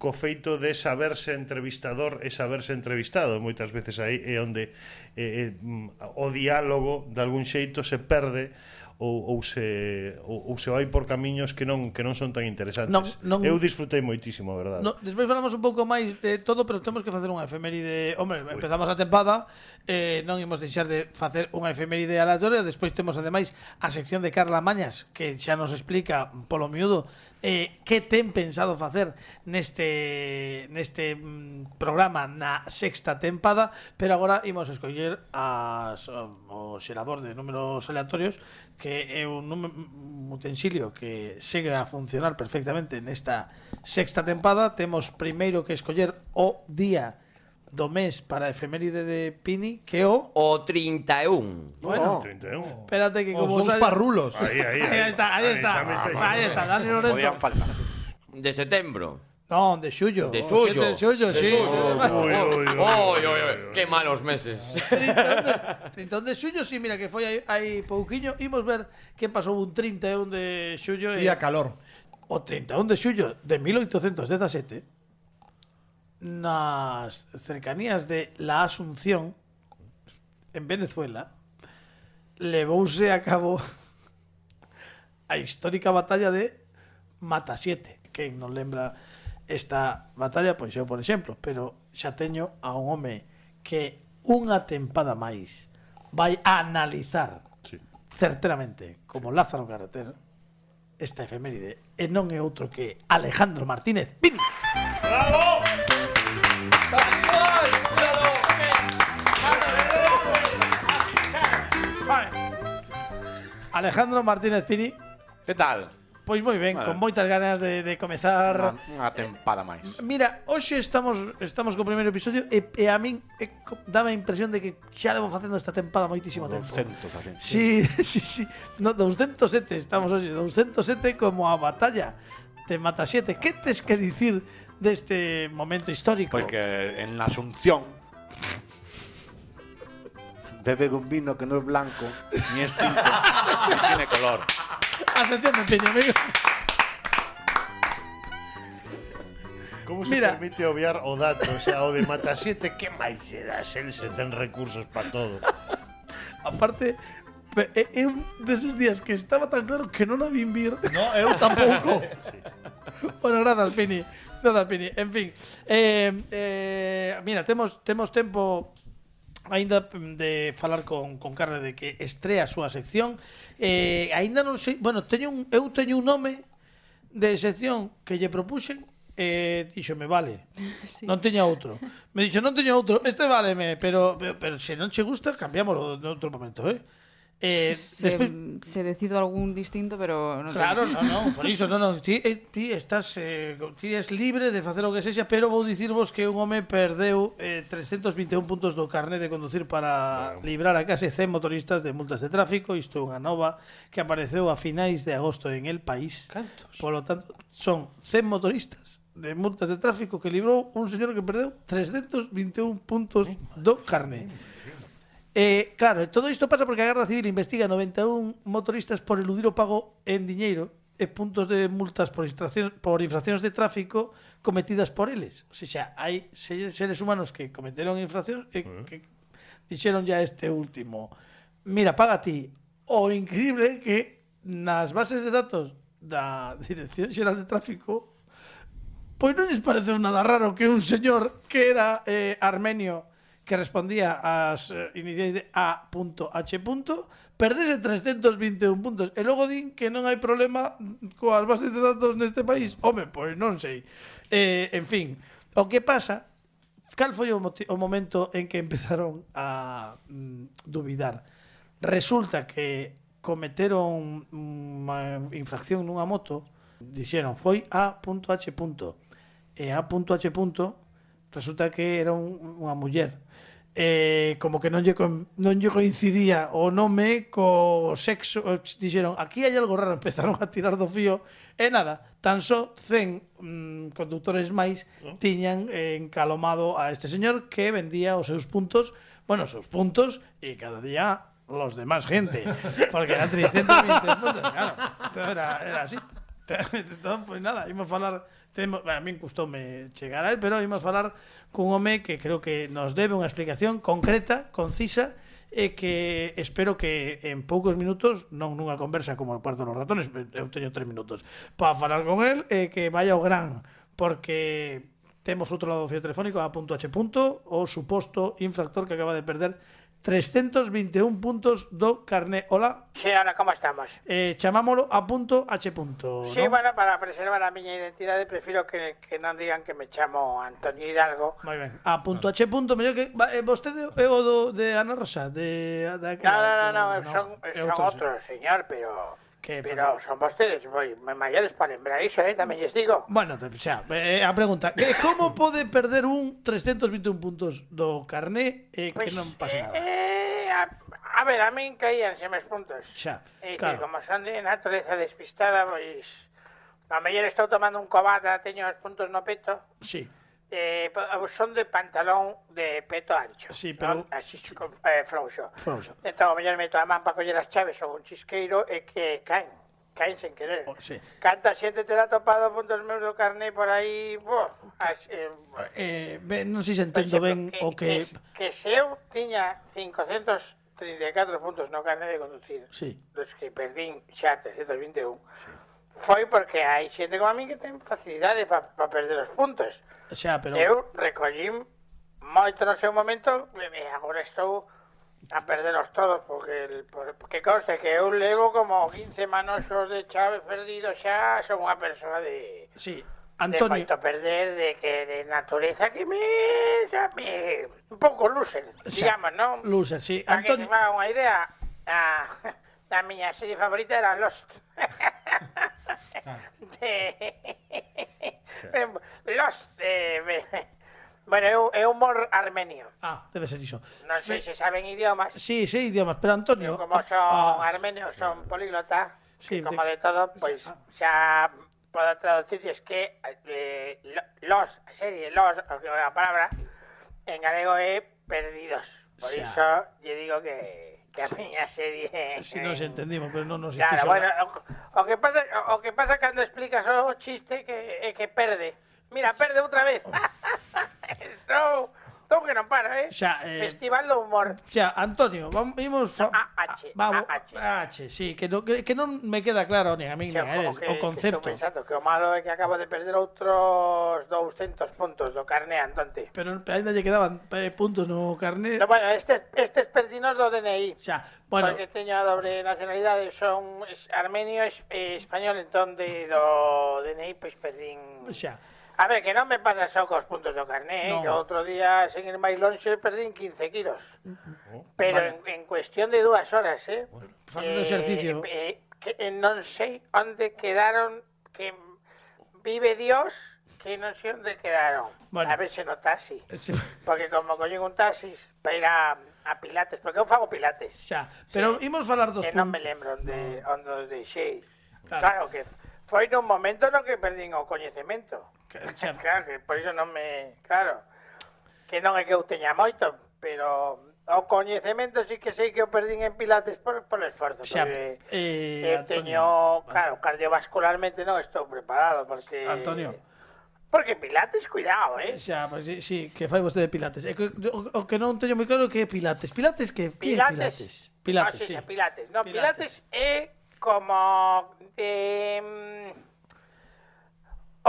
S3: co feito de saberse entrevistador e saberse entrevistado. Moitas veces aí é onde eh, eh, mm, o diálogo de algún xeito se perde ou, ou se ou, ou se vai por camiños que non que non son tan interesantes.
S2: Non, non-
S3: Eu disfrutei moitísimo, a verdade.
S2: No, despois falamos un pouco máis de todo, pero temos que facer unha efeméride. Hombre, empezamos a tempada, eh, non imos deixar de facer unha efeméride aleatoria, despois temos ademais a sección de Carla Mañas, que xa nos explica polo miúdo eh, que ten pensado facer neste neste mm, programa na sexta tempada, pero agora imos escoller as, um, o xerador de números aleatorios que é un, número, un utensilio que segue a funcionar perfectamente nesta sexta tempada. Temos primeiro que escoller o día do mes para a efeméride de Pini, que é o...
S9: O 31.
S2: Bueno,
S3: 31.
S2: espérate que
S6: Os
S2: como
S6: bons
S2: sal-
S6: parrulos.
S3: Ahí, ahí, ahí.
S2: Ahí está, ahí está.
S3: xa me estáis-
S2: Ahí está, Dani
S5: Podían
S2: Lorenzo.
S5: faltar.
S9: De setembro.
S2: No, de suyo.
S9: De
S2: o
S9: suyo.
S2: siete De suyo, sí.
S3: Uy, uy, uy,
S9: Oi,
S3: uy,
S9: oi, oi,
S3: uy.
S9: que malos meses.
S2: Trintón de, trintón de suyo, sí, mira que foi aí, aí pouquiño. Imos ver que pasou un 31 de suyo.
S6: Día calor.
S2: o 31 de xullo de 1817 nas cercanías de La Asunción en Venezuela levouse a cabo a histórica batalla de Matasiete que non lembra esta batalla pois eu por exemplo pero xa teño a un home que unha tempada máis vai a analizar
S3: Sí.
S2: certeramente como Lázaro Carreter esta efeméride e non é outro que Alejandro Martínez Pini. Alejandro Martínez Pini,
S5: Que tal?
S2: pois moi ben,
S5: Vale.
S2: con moitas ganas de, de comezar.
S5: Unha, unha tempada máis.
S2: Mira, hoxe estamos estamos co primeiro episodio e, e a min e, co- dame a impresión de que xa levo facendo esta tempada moitísimo tempo.
S5: 200
S2: Sí,
S5: así.
S2: sí, sí. No, 207 estamos hoxe. 207 como a batalla de Mata 7. Que tes que dicir deste momento histórico?
S5: Pois Pues que en la Asunción bebe un vino que no es blanco ni es tinto, ni tiene color.
S2: Atención, Pepiño, amigo.
S3: Como se
S2: Mira.
S3: permite obviar o dato, o sea, o de mata siete, que máis lle das, el se ten recursos para todo.
S2: Aparte, pe- é é un deses días que estaba tan claro que non a vin vir.
S6: No, eu tampouco.
S2: Bueno, gracias, Pini. Gracias, Pini. En fin. Eh, eh, mira, temos, temos tempo aínda de falar con, con Carla de que estrea a súa sección. Eh, aínda non sei... Bueno, teño un, eu teño un nome de sección que lle propuxen e eh, díxome, vale,
S4: Sí.
S2: non teña outro. Me dixo, non teño outro, este váleme, pero, pero, pero se non che gusta, cambiámoslo en outro momento, eh? Eh,
S4: se,
S2: despois-
S4: se decido algún distinto, pero no
S2: Claro,
S4: tengo.
S2: no, non, por iso, non, non, ti, eh, ti estás eh, ti es libre de facer o que sexa, pero vou dicirvos que un home perdeu eh, 321 puntos do carné de conducir para bueno. librar a case 100 motoristas de multas de tráfico, isto é unha nova que apareceu a finais de agosto en el país.
S3: Cantos?
S2: Por lo tanto, son 100 motoristas de multas de tráfico que librou un señor que perdeu 321 puntos do carné. Eh, claro, todo isto pasa porque a Garda Civil investiga 91 motoristas por eludir o pago en diñeiro e puntos de multas por infraccións, por infraccións de tráfico cometidas por eles. O sea, hai se- seres humanos que cometeron infraccións e que dixeron ya este último. Mira, paga ti. O increíble é que nas bases de datos da Dirección Xeral de Tráfico Pois non lles pareceu nada raro que un señor que era eh, armenio que respondía ás eh, iniciais de A.H. perdese 321 puntos e logo din que non hai problema coas bases de datos neste país. Home, pois non sei. Eh, en fin, o que pasa cal foi o, moti- o momento en que empezaron a mm, dubidar. Resulta que cometeron unha infracción nunha moto, dixeron foi A.H. E A.H. resulta que era un, unha muller. Eh, como que non lle, con- non lle coincidía o nome co sexo eh, dixeron, aquí hai algo raro empezaron a tirar do fío e nada tan só 100 mm, conductores máis tiñan eh, encalomado a este señor que vendía os seus puntos bueno, os seus puntos e cada día los demás gente porque eran 320 puntos claro, todo era, era así entón, pois nada, imos falar temos, bueno, a min custoume chegar a él, pero imos falar cun home que creo que nos debe unha explicación concreta, concisa e que espero que en poucos minutos, non nunha conversa como o cuarto dos ratones, pero eu teño tres minutos para falar con él e que vaya ao gran, porque temos outro lado do fio telefónico a punto H punto, o suposto infractor que acaba de perder 321 puntos do carné. Hola,
S7: Sí, ahora, ¿cómo estamos?
S2: eh, chamámolo a punto H punto.
S7: Sí, bueno, para preservar a miña identidade prefiro que, que non digan que me chamo Antonio Hidalgo.
S2: Moi ben. A punto H punto, mellor que va, eh, vostede é o do, de Ana Rosa, de da
S7: No, no, no, no, son,
S2: é
S7: son
S2: outro,
S7: outros,
S2: sí.
S7: señor, pero...
S2: Que
S7: pero
S2: Fernando.
S7: son vostedes moi, moi maiores para lembrar iso, eh, tamén lles digo.
S2: Bueno, te- xa, eh, a pregunta, que como pode perder un 321 puntos do carné e
S7: Pois,
S2: que non pase nada?
S7: Eh, a, a ver, a min caíanse meus puntos.
S2: Xa,
S7: É claro.
S2: claro.
S7: eh, como son de natureza despistada, pois... A mellor estou tomando un cobata, teño os puntos no peto.
S2: Sí.
S7: Eh, pa- son de pantalón de peto ancho.
S2: Sí,
S7: Non?
S2: pero-
S7: Así, chico, eh, frouxo.
S2: Frouxo.
S7: Entón, o mellor meto a man para coller as chaves ou un chisqueiro e que caen. Caen sen querer.
S2: Oh, sí.
S7: Canta xente te la topado puntos meus do carné por aí... Bo, as, eh,
S2: Eh, ben, non sei se entendo ben o que
S7: Que se eu tiña 534 puntos no carné de conducir,
S2: Sí.
S7: dos que perdín xa 321, foi porque hai xente como a mí que ten facilidade para pa perder os puntos.
S2: xa, pero
S7: Eu recollín moito no seu momento e e agora estou a perderos todos porque, el, por- porque conste que eu levo como 15 manosos de chave perdido xa son unha persoa de
S2: sí,
S7: Antonio. de
S2: Antonio,
S7: moito perder de que de natureza que me, xa me un pouco lusen,
S2: xa,
S7: digamos, non?
S2: Loser, sí,
S7: Para que se
S2: Antonio.
S7: faga unha idea, a, a miña serie favorita era Lost. de... Lost, eh, me- bueno, é un- é humor armenio.
S2: Ah, debe ser iso.
S7: Non sei se saben idiomas,
S2: Sí, sí, idiomas, pero Antonio,
S7: pero como son
S2: ah,
S7: armenios, son políglotas,
S2: Sí,
S7: que
S2: de- ah,
S7: como de todo, pues pois xa podo traducirles que eh, lo- los, a serie, los, o que- a palabra, en galego é perdidos. Por
S2: Xa.
S7: iso lle digo que, que a miña serie...
S2: si non se entendimos, pero non nos
S7: Claro,
S2: estes-
S7: bueno, o, o que pasa o, o que pasa cando explicas o chiste que é que perde. Mira, perde outra vez. Estou, estou que non paro, eh?
S2: Xa, eh,
S7: Festival do humor.
S2: Xa, Antonio, vamos imos fa...
S7: AH,
S2: vamos,
S7: AH.
S2: AH, sí, que no, que, que non me queda claro nin a
S7: Sí,
S2: min nin a eles,
S7: ojo, que-
S2: o concepto.
S7: Que estou pensando que o malo é que acabo de perder outros 200 puntos do carné andante.
S2: Pero ainda lle quedaban eh, puntos no carné.
S7: No, bueno, estes estes perdinos do DNI.
S2: Xa, bueno,
S7: Porque teño a dobre nacionalidade, son es- armenio e es- e español, entón de do DNI pois perdín
S2: xa.
S9: A ver, que non me pasa só cos puntos do
S7: eh,
S9: carné, no.
S2: No.
S9: que outro día, sen ir máis longe, perdín 15 kilos. Pero
S2: Vale.
S9: en, en cuestión de dúas horas, eh?
S2: Facendo exercicio.
S9: Eh, que, eh, non sei onde quedaron, que vive Dios, que non sei onde quedaron.
S2: Bueno.
S9: A ver se no taxi.
S2: Sí,
S9: Porque como collín un taxi para ir a, a Pilates, porque eu fago Pilates.
S2: xa. Pero imos falar dos
S9: Que non me lembro onde, onde os deixei.
S2: Claro.
S9: Claro. que foi nun momento no que perdín o coñecemento.
S2: Que- xa.
S9: Claro, que por iso non me... Claro, que non é que eu teña moito, pero o coñecemento sí que sei que eu perdín en Pilates por, por esforzo.
S2: Xa,
S9: porque
S2: eh,
S9: eu
S2: Antonio.
S9: teño... Claro, cardiovascularmente non estou preparado, porque...
S2: Antonio.
S7: Eh,
S9: Porque Pilates, cuidado, eh?
S2: Xa, pois, sí, sí, que fai vostede pilates. E que- O, o que non teño moi claro que é pilates. Pilates que que é pilates? Pilates,
S9: no,
S2: sí.
S9: Ah, Pilates. No, Pilates,
S2: Pilates.
S9: é como... Eh,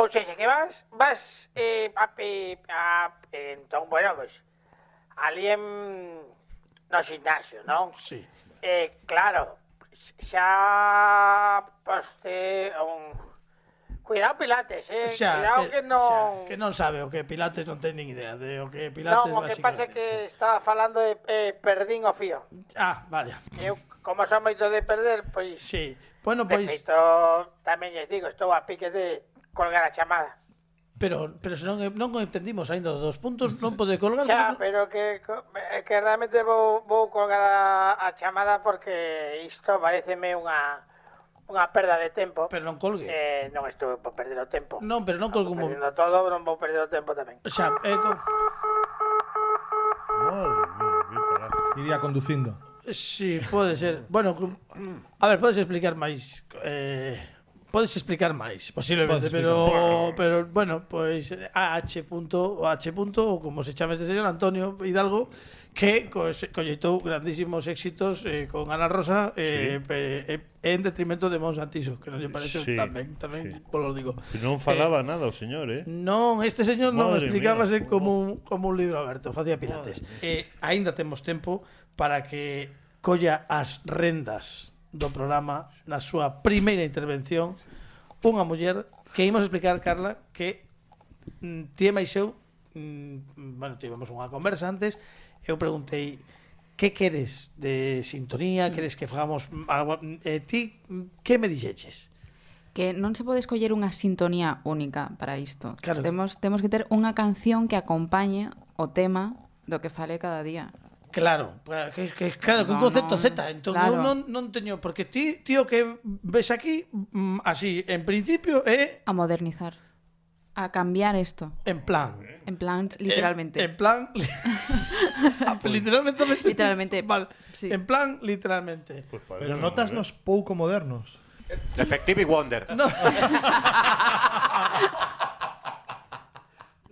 S9: ou seja, que vas, vas eh, a, pe- a, eh, entón, bueno, pues, ali en, no gimnasio, non?
S2: Sí.
S9: Eh, claro, xa poste un... Cuidado Pilates, eh?
S2: Xa,
S9: Cuidado que, non...
S2: xa, que non sabe o que é pilates, non ten nin idea de o que é pilates
S9: non, o que pasa é
S2: basicamente,
S9: que
S2: sí.
S9: estaba falando de eh, perdín o fío.
S2: Ah, vale.
S9: Eu, como son moito de perder, pois...
S2: Sí. Bueno,
S9: De
S2: pois,
S9: feito, tamén lles digo, estou a piques de colgar a chamada.
S2: pero pero se non non entendimos aínda os dos puntos, non pode colgar.
S9: Xa, pero que, co- eh, que realmente vou, vou colgar a, a chamada porque isto pareceme unha unha perda de tempo.
S2: Pero non colgue.
S9: Eh, non estou por perder o tempo.
S2: non, pero non colgue un momento.
S9: Perdendo todo, non vou perder o tempo tamén.
S2: Xa, eh, co-
S3: Madre mía, qué carajo.
S6: Iría conducindo.
S2: Sí, pode ser. Bueno, cu- a ver, podes explicar máis eh podes explicar máis, posiblemente,
S6: Podes
S2: pero pero bueno, pois AH punto, o H punto, ou como se chama este señor Antonio Hidalgo, que co- se- colleitou grandísimos éxitos eh, con Ana Rosa eh, pe- eh, en detrimento de Mons Santiso, que non lle parece
S3: Sí,
S2: tamén, tamén
S3: sí.
S2: polo digo.
S3: Non falaba nada o señor, eh?
S2: Non, este señor non
S3: Madre
S2: explicábase
S3: mía.
S2: como un, como un libro aberto, facía pilates. E Eh, aínda temos tempo para que colla as rendas do programa na súa primeira intervención unha muller que imos explicar, Carla, que mm, ti e máis eu mm, bueno, tivemos unha conversa antes eu preguntei que queres de sintonía, queres que fagamos mm, algo, Mm, eh, ti, mm, que me dixeches?
S4: Que non se pode escoller unha sintonía única para isto.
S2: Claro.
S4: Temos, temos que ter unha canción que acompañe o tema do que fale cada día.
S2: Claro, pra- que, que claro, que un
S4: No,
S2: concepto
S4: no,
S2: Z, entón eu
S4: claro.
S2: non non teño porque ti, tío que ves aquí mm, así, en principio é
S4: A modernizar. A cambiar isto.
S2: en plan,
S4: En plan,
S2: Eh,
S4: literalmente.
S2: En, en plan Ah, literalmente tamén se-
S4: Literalmente,
S2: Vale.
S4: sí.
S2: En plan literalmente.
S3: Pues parece que
S6: Pero notas
S3: non, eh.
S6: nos pouco modernos.
S5: Effective y Wonder.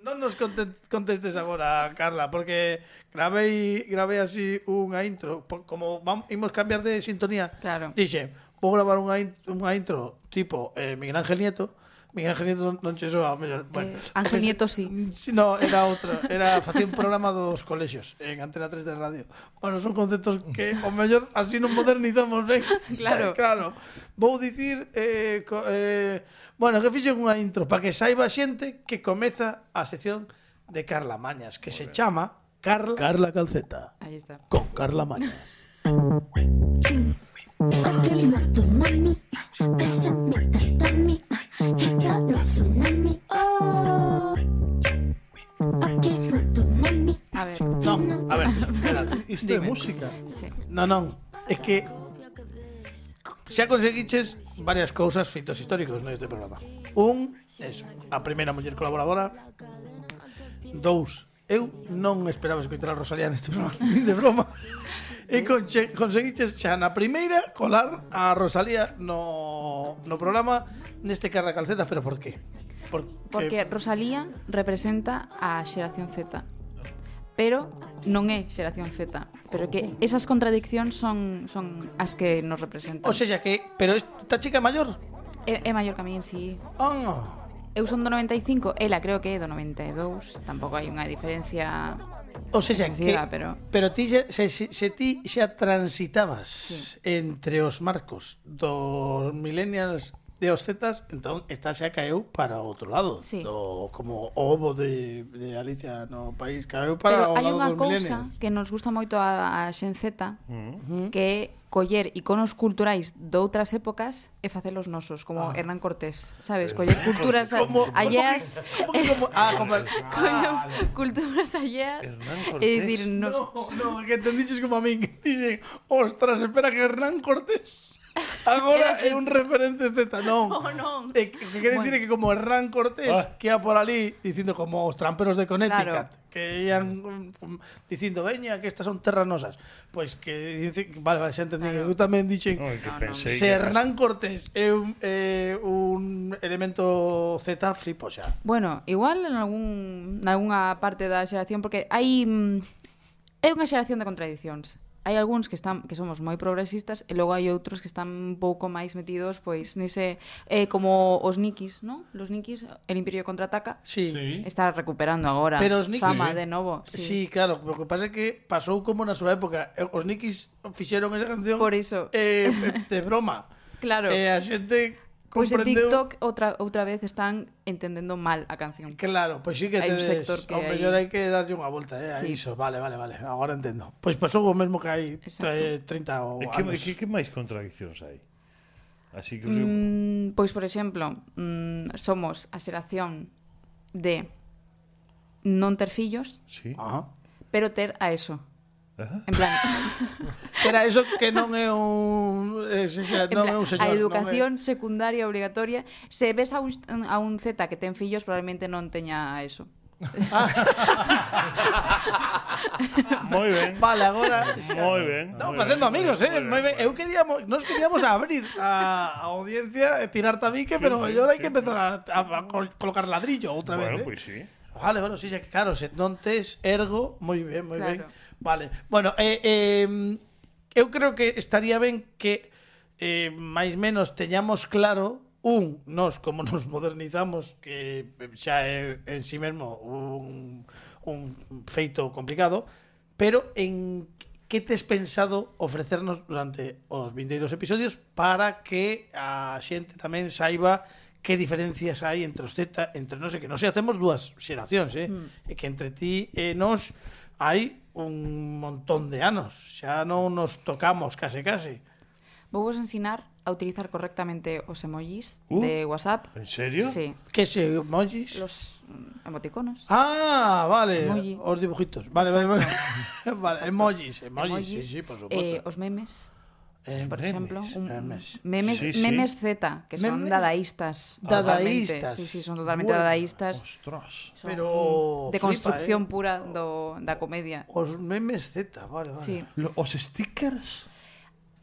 S2: Non nos conte- contestes agora, Carla, porque gravei gravei así unha intro, por- como vamos imos cambiar de sintonía.
S4: Claro.
S2: Dixe, vou gravar unha, in- unha intro tipo eh, Miguel Ángel Nieto, Miguel Ángel Nieto non- non che soa mellor. Bueno,
S4: Eh, Ángel
S2: ese-
S4: Nieto sí.
S2: Sí, No, era outro, era facía un programa dos colexios en Antena 3 de radio. Bueno, son conceptos que o mellor así non modernizamos, ben.
S4: Claro.
S2: Claro. Vou dicir eh, co, eh, bueno, que fixen unha intro para que saiba a xente que comeza a sección de Carla Mañas, que se chama Carla Carla Calceta
S4: Aí está.
S2: con Carla Mañas.
S8: Te mato, mami. Bésame, tatami. Que ya no es tsunami. Oh. Aquí mato, mami.
S4: A ver.
S2: Non, a ver, espérate.
S6: Isto é
S4: Dime.
S6: música.
S4: Sí.
S2: Non, non, é que xa conseguiches varias cousas fitos históricos neste programa. Un, eso, a primeira muller colaboradora. Dous, eu non esperaba escoitar a Rosalía neste programa, nin de broma. E conche, conseguiches xa na primeira colar a Rosalía no, no programa neste Carra Calceta, pero por qué? Por,
S4: Porque Rosalía representa a xeración Z. Pero non é xeración Z, pero que esas contradiccións son son as que nos representan.
S2: O sea, que, pero esta chica é maior?
S4: é, é maior que a min, si.
S2: Ah,
S4: Eu son do 95, ela creo que é do 92, tampouco hai unha diferencia
S2: O sea,
S4: Sí,
S2: que,
S4: va, pero-
S2: pero ti xa, se, se, se ti xa transitabas entre os marcos dos millennials de os Zetas, entón esta xa caeu para outro lado,
S4: Sí.
S2: do, como o ovo de, de Alicia no país, caeu para
S4: Pero
S2: o
S4: hai
S2: lado dos
S4: unha cousa
S2: milenios. Mm-hmm.
S4: que nos gusta moito a, a Xen Z, que é coller iconos culturais doutras épocas e facelos nosos, como
S2: Ah. Eh.
S4: Hernán Cortés, sabes? Coller culturas a-
S2: Como- como
S4: alleas...
S2: que- como que Ah, como- ah, como-
S4: Coller culturas alleas e dicir... Nos...
S2: No, no, que entendiches como a min. Dixen, ostras, espera que Hernán Cortés agora é un referente Z. Non,
S4: Oh, non.
S2: Eh, que, que quere dicir que como Hernán Cortés
S4: Ah.
S2: que a por ali dicindo como os tramperos de Connecticut
S4: Claro.
S2: que ian um, um, dicindo veña que estas son terras nosas pois que dice, vale, vale, xa entendí que eu tamén dixen
S3: que pensei
S2: se
S3: que
S2: Hernán Cortés é un, eh, un elemento Z flipo xa
S4: Bueno, igual en algún nalgúna parte da xeración porque hai mm, é unha xeración de contradicións. Hai algúns que están que somos moi progresistas e logo hai outros que están un pouco máis metidos pois nese eh, como os nikis, ¿no? Los nikis, el imperio contraataca.
S2: Sí. Sí.
S4: Está recuperando agora
S2: Pero os nikis ¿eh?
S4: fama de novo.
S2: Sí. sí, claro, pero o que pasa é que pasou como na súa época, Eh, os Nikis fixeron esa canción
S4: Por iso.
S2: Eh, de broma.
S4: Claro.
S2: E eh, a xente
S4: Pois en
S2: comprendeu
S4: TikTok outra outra vez están entendendo mal a canción.
S2: Claro, pois sí que
S4: Hai un
S2: tedes,
S4: sector que
S2: ao
S4: hai-
S2: mellor hai que darlle unha volta, eh,
S4: Sí.
S2: sí. a iso. Vale, vale, vale, agora entendo. Pois pasou o mesmo que hai eh, 30 ou
S3: E que,
S2: anos.
S3: que, que máis contradiccións hai? Así que...
S4: Mm, pois, por exemplo, mm, somos a xeración de non ter fillos,
S3: Sí.
S2: Ajá.
S4: pero ter a eso.
S3: Ah.
S4: En plan,
S2: Era eso que non é un eh, se- xa,
S4: en
S2: non é
S4: plan,
S2: un señor, non
S4: a
S2: é-
S4: educación secundaria obligatoria, se ves a un, a un Z que ten fillos, probablemente non teña a eso.
S2: Ah.
S3: Ah, Moi ben.
S2: Vale, agora
S3: Moi ben.
S2: No,
S3: moi
S2: facendo
S3: ben,
S2: amigos, eh. Moi ben. Eu queríamos, nós queríamos abrir a, a audiencia e tirar tabique, pero mellor hai que empezar a, a, a col- colocar ladrillo outra
S3: Bueno,
S2: vez. eh.
S3: pois sí.
S2: Vale, bueno, sí, xa que claro, se non tes ergo, moi ben, moi
S4: Claro.
S2: ben. Vale. Bueno, eh, eh, eu creo que estaría ben que eh, máis menos teñamos claro un, nós como nos modernizamos que xa é en si sí mesmo un, un feito complicado, pero en que tes pensado ofrecernos durante os 22 episodios para que a xente tamén saiba que diferencias hai entre os Z, entre non sei que, non sei, hacemos dúas xeracións, eh?
S10: Mm.
S2: E que entre ti e nós hai un montón de anos, xa non nos tocamos case case.
S4: Vou vos ensinar a utilizar correctamente os emojis
S2: Uh,
S4: de WhatsApp.
S3: ¿En serio?
S4: Sí.
S2: Que se emojis?
S4: Los mm, emoticonos.
S2: Ah, vale,
S4: Emoji.
S2: os dibujitos. Vale, vale, vale. vale, emojis, emojis, sí, sí, por
S4: eh,
S2: suposto.
S4: os memes.
S2: Eh,
S4: por
S2: memes,
S4: exemplo, un-
S2: memes.
S4: memes,
S2: Sí, sí.
S4: memes Z, que son
S2: Memes
S4: dadaístas.
S2: dadaístas.
S4: totalmente. Sí, sí, son totalmente
S2: Bueno,
S4: dadaístas.
S6: Ostras.
S2: Pero
S4: de
S2: flipa,
S4: construcción
S2: eh.
S4: pura do, da comedia.
S2: Os memes Z, vale, vale.
S4: Sí.
S6: Lo- Os stickers.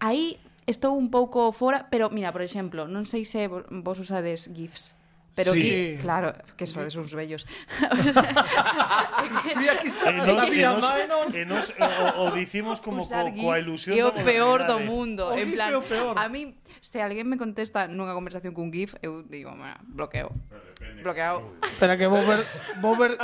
S4: Aí estou un pouco fora, pero mira, por exemplo, non sei se vo- vos usades GIFs. Pero
S6: Sí.
S4: aquí,
S6: Sí.
S4: claro, que sodes uns bellos.
S6: Y aquí está.
S3: E nos, e
S6: sabía,
S3: nos,
S6: Manon.
S3: e nos, o, o dicimos como co,
S4: Usar GIF
S3: coa ilusión
S4: é o
S3: da
S4: peor do
S3: modernidade.
S4: mundo.
S6: O
S4: en
S6: GIF
S4: plan,
S6: é o peor.
S4: a mí, se alguén me contesta nunha conversación cun GIF, eu digo, bueno, bloqueo. Bloqueado.
S2: Espera que vou ver, vou ver,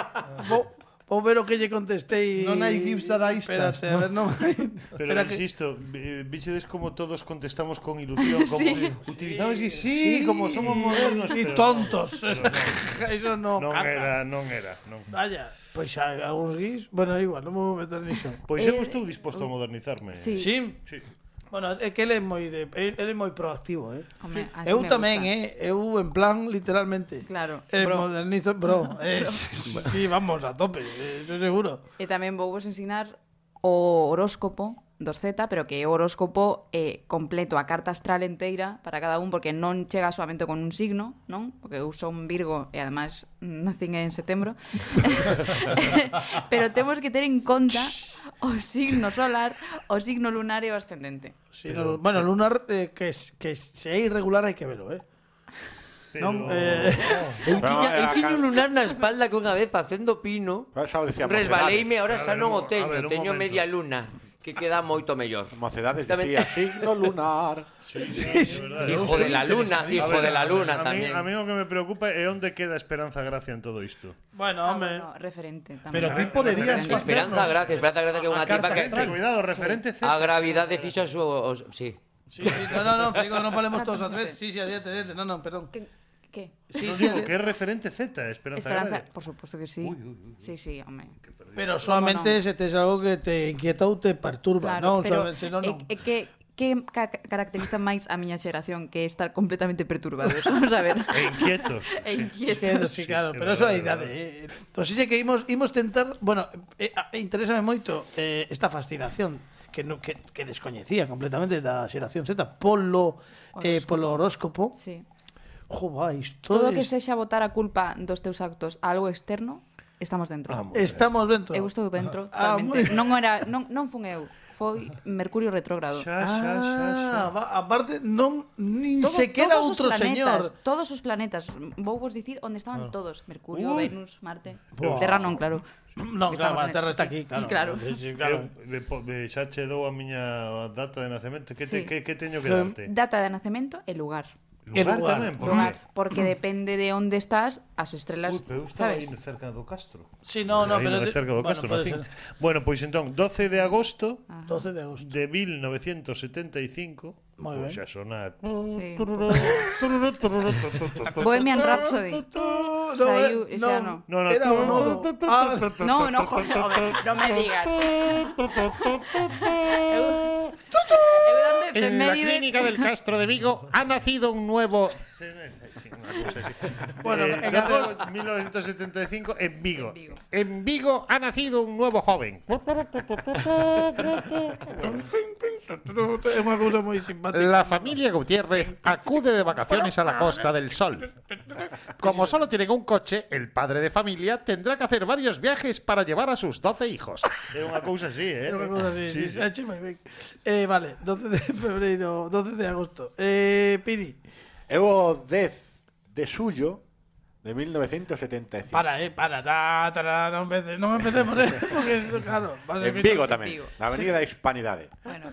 S2: vou, vou ver o que lle contestei.
S6: Non hai gifs dadaístas,
S2: Espérate, a ver, non hai.
S3: Pero
S2: Espera que-
S3: insisto, eh, vichedes como todos contestamos con ilusión, como
S2: Sí.
S3: utilizamos y sí, como somos modernos
S2: Y
S3: pero non,
S2: tontos.
S3: pero non.
S2: Iso non,
S3: non
S2: caca.
S3: era, non era, non.
S2: Vaya, pois hai algúns guis, bueno, é igual, non me vou meter niso.
S3: Pois
S4: Eh,
S3: eu estou disposto a modernizarme.
S2: Sí. Sí? Bueno, é que ele é moi de, el, ele é moi proactivo, eh.
S4: Home, así
S2: eu
S4: Ah, me
S2: tamén,
S4: gusta.
S2: eh, eu en plan literalmente.
S4: Claro,
S2: Eh,
S4: bro.
S2: modernizo, bro. Eh, sí, vamos a tope, eh, eso seguro.
S4: E tamén vou vos ensinar o horóscopo dos Z, pero que é o horóscopo eh, completo, a carta astral enteira para cada un, porque non chega soamente con un signo, non? Porque eu son Virgo e ademais mm, nacín en setembro. pero temos que ter en conta o signo solar, o signo lunar e o ascendente.
S2: Sí, no, bueno, lunar eh, que es- que se é irregular hai que velo, eh.
S3: Pero-
S2: Non, eh,
S9: Eu tiña,
S5: eh,
S9: eu tiña un lunar na espalda que unha vez facendo pino
S5: decía
S9: resbaleime, ahora
S5: mocedades.
S9: xa
S5: A ver,
S9: non
S5: un-
S9: o
S5: a
S9: teño,
S5: ver, un
S9: teño
S5: momento.
S9: media luna que queda moito mellor.
S5: Mocedades decía signo lunar.
S9: Hijo de la luna,
S3: A
S9: hijo
S3: ver,
S9: de la
S3: a ver,
S9: luna
S3: a mí-
S9: tamén.
S3: A mí o que me preocupa é onde queda Esperanza Gracia en todo isto.
S2: Bueno,
S4: home. Ah, bueno, referente tamén.
S6: Pero ti poderías
S4: Referente.
S6: facer-
S9: Esperanza, gracias, Esperanza, gracias que é unha
S6: carta
S9: tipa que
S4: Ah,
S6: astral,
S3: cuidado, referente
S9: A gravidade fixo a súa os, sí.
S2: Sí, sí, no, no, no, digo, no paremos todos a tres. Sí, sí, adiante, adiante. No, no, perdón.
S4: ¿Qué?
S2: Sí,
S3: No
S2: sí,
S3: digo,
S2: adiante.
S3: que es referente Z, Esperanza,
S4: Esperanza,
S3: Grande.
S4: por supuesto que sí. Sí, sí, hombre.
S2: Pero
S4: ¿Cómo
S2: solamente
S4: no?
S2: se te es algo que te inquieta ou te perturba, non?
S4: Claro, pero
S2: Solamente, senón,
S4: é,
S2: non.
S4: é que que ca- caracteriza máis a miña xeración que estar completamente perturbados, vamos a ver.
S3: E inquietos.
S4: E
S2: Inquietos,
S4: inquietos.
S2: sí, claro,
S4: Sí,
S2: pero
S4: é
S2: eso é a
S4: verdade,
S2: idade. eh. Entón, sí que imos, imos tentar... Bueno, eh, eh, interésame moito eh, esta fascinación que, no, que, que descoñecía completamente da xeración Z polo, eh, polo horóscopo.
S4: Sí.
S2: Jo, vai, isto
S4: Todo o
S2: é-
S4: que sexa botar a culpa dos teus actos a algo externo, estamos dentro.
S2: Ah, moi ben. Estamos dentro.
S4: Eu estou dentro,
S2: Ah, moi
S4: totalmente. non era, non, non fun eu, foi Mercurio retrógrado.
S2: Ah, va- aparte non nin
S4: Todo-
S2: sequera
S4: todos os
S2: outro señor.
S4: planetas, Todos os planetas, vou vos dicir onde estaban
S2: Claro.
S4: todos, Mercurio,
S2: Uy.
S4: Venus, Marte.
S3: Buah.
S4: Terra non, claro.
S2: No, claro, a
S4: Estamos en-
S2: Terra está aquí, claro.
S4: claro.
S2: Eh,
S3: Eu, me, po- me, xa che dou a miña data de nacemento. Que, te,
S4: Sí.
S3: que, que teño que darte?
S4: Data de nacemento e lugar.
S3: Lugar, tamén, por
S4: Lugar,
S3: qué?
S4: porque depende de onde estás, as
S3: Ui,
S4: estrelas,
S3: pero eu estaba
S4: sabes?
S3: aí cerca do Castro.
S2: Sí, no, no,
S3: Aí
S2: pero
S3: no é cerca do
S2: bueno,
S3: Castro,
S2: puede
S3: nacín.
S2: ser.
S3: bueno, pois entón, 12 de agosto
S4: Ah.
S2: 12 de agosto.
S3: de 1975,
S2: Moi ben.
S3: pois xa sonar
S4: Sí. Bohemian Rhapsody.
S2: No,
S4: Saiu,
S2: eh,
S4: xa
S2: no.
S4: no.
S3: No, no,
S2: Era un nodo. Ah.
S4: No, no, joder, joder, no me digas. Eu- eu dando efemérides.
S3: de Vigo ha nacido un nuevo.
S2: Bueno,
S3: Eh,
S2: en
S3: dato
S2: agosto-
S3: de 1975 en Vigo.
S4: Vigo.
S3: En Vigo ha nacido un nuevo joven.
S2: É unha cousa moi simpática.
S10: La familia Gutiérrez acude de vacaciones a la Costa del Sol. Como solo tienen un coche, el padre de familia tendrá que hacer varios viajes para llevar a sus 12 hijos.
S3: É unha cousa así,
S2: É
S3: eh?
S2: unha cousa así.
S3: Sí,
S2: Sí, sí.
S3: sí.
S2: moi ben. Eh, vale, 12 de febreiro, 12 de agosto. Eh, Piri,
S5: Eu o 10 de suyo de 1975.
S2: para, eh, para, ta, ta, ta, non, empece, non empecemos, eh, porque eso, claro, vas a
S5: en
S2: escrito-
S5: Vigo tamén,
S4: Vigo.
S5: na Avenida da Hispanidade.
S4: Bueno,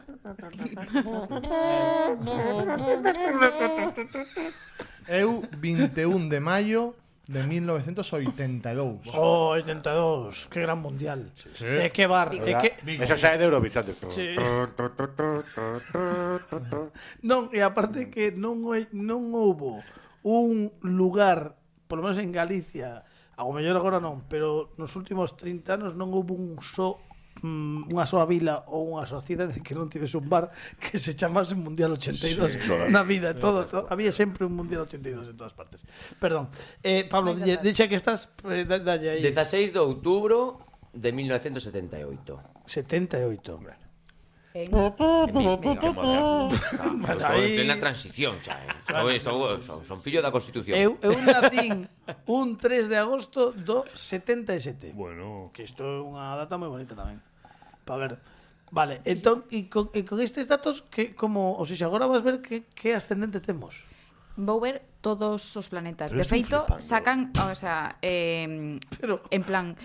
S6: Eu 21 de maio de 1982.
S2: Oh, 82, qué gran mundial. Eh, qué bar, eh, qué...
S5: Eso xa é de Eurovision.
S2: Sí. Non, e aparte que non hai- non houbo un lugar, polo menos en Galicia, ao mellor agora non, pero nos últimos 30 anos non houbo un só mm, unha soa vila ou unha soa cidade que non tivese un bar que se chamase Mundial 82 na vida, todo, todo, había sempre un Mundial 82 en todas partes. Perdón. Eh, Pablo, dille- dixe que estás eh, da- dalle aí
S9: 16 de outubro de 1978.
S2: 78.
S4: en-
S9: Bueno, estou en plena transición xa, eh. Estou, estou, son, son fillo da Constitución.
S2: Eu, eu nacín un 3 de agosto do 77.
S3: Bueno,
S2: Que isto é unha data moi bonita tamén. Pa ver. Vale, entón, e con, e con estes datos, que como, ou seja, agora vas ver que, que ascendente temos.
S4: Vou ver todos os planetas.
S3: Pero
S4: De
S3: estou
S4: feito,
S3: flipando.
S4: sacan, o sea, eh,
S2: Pero,
S4: en plan,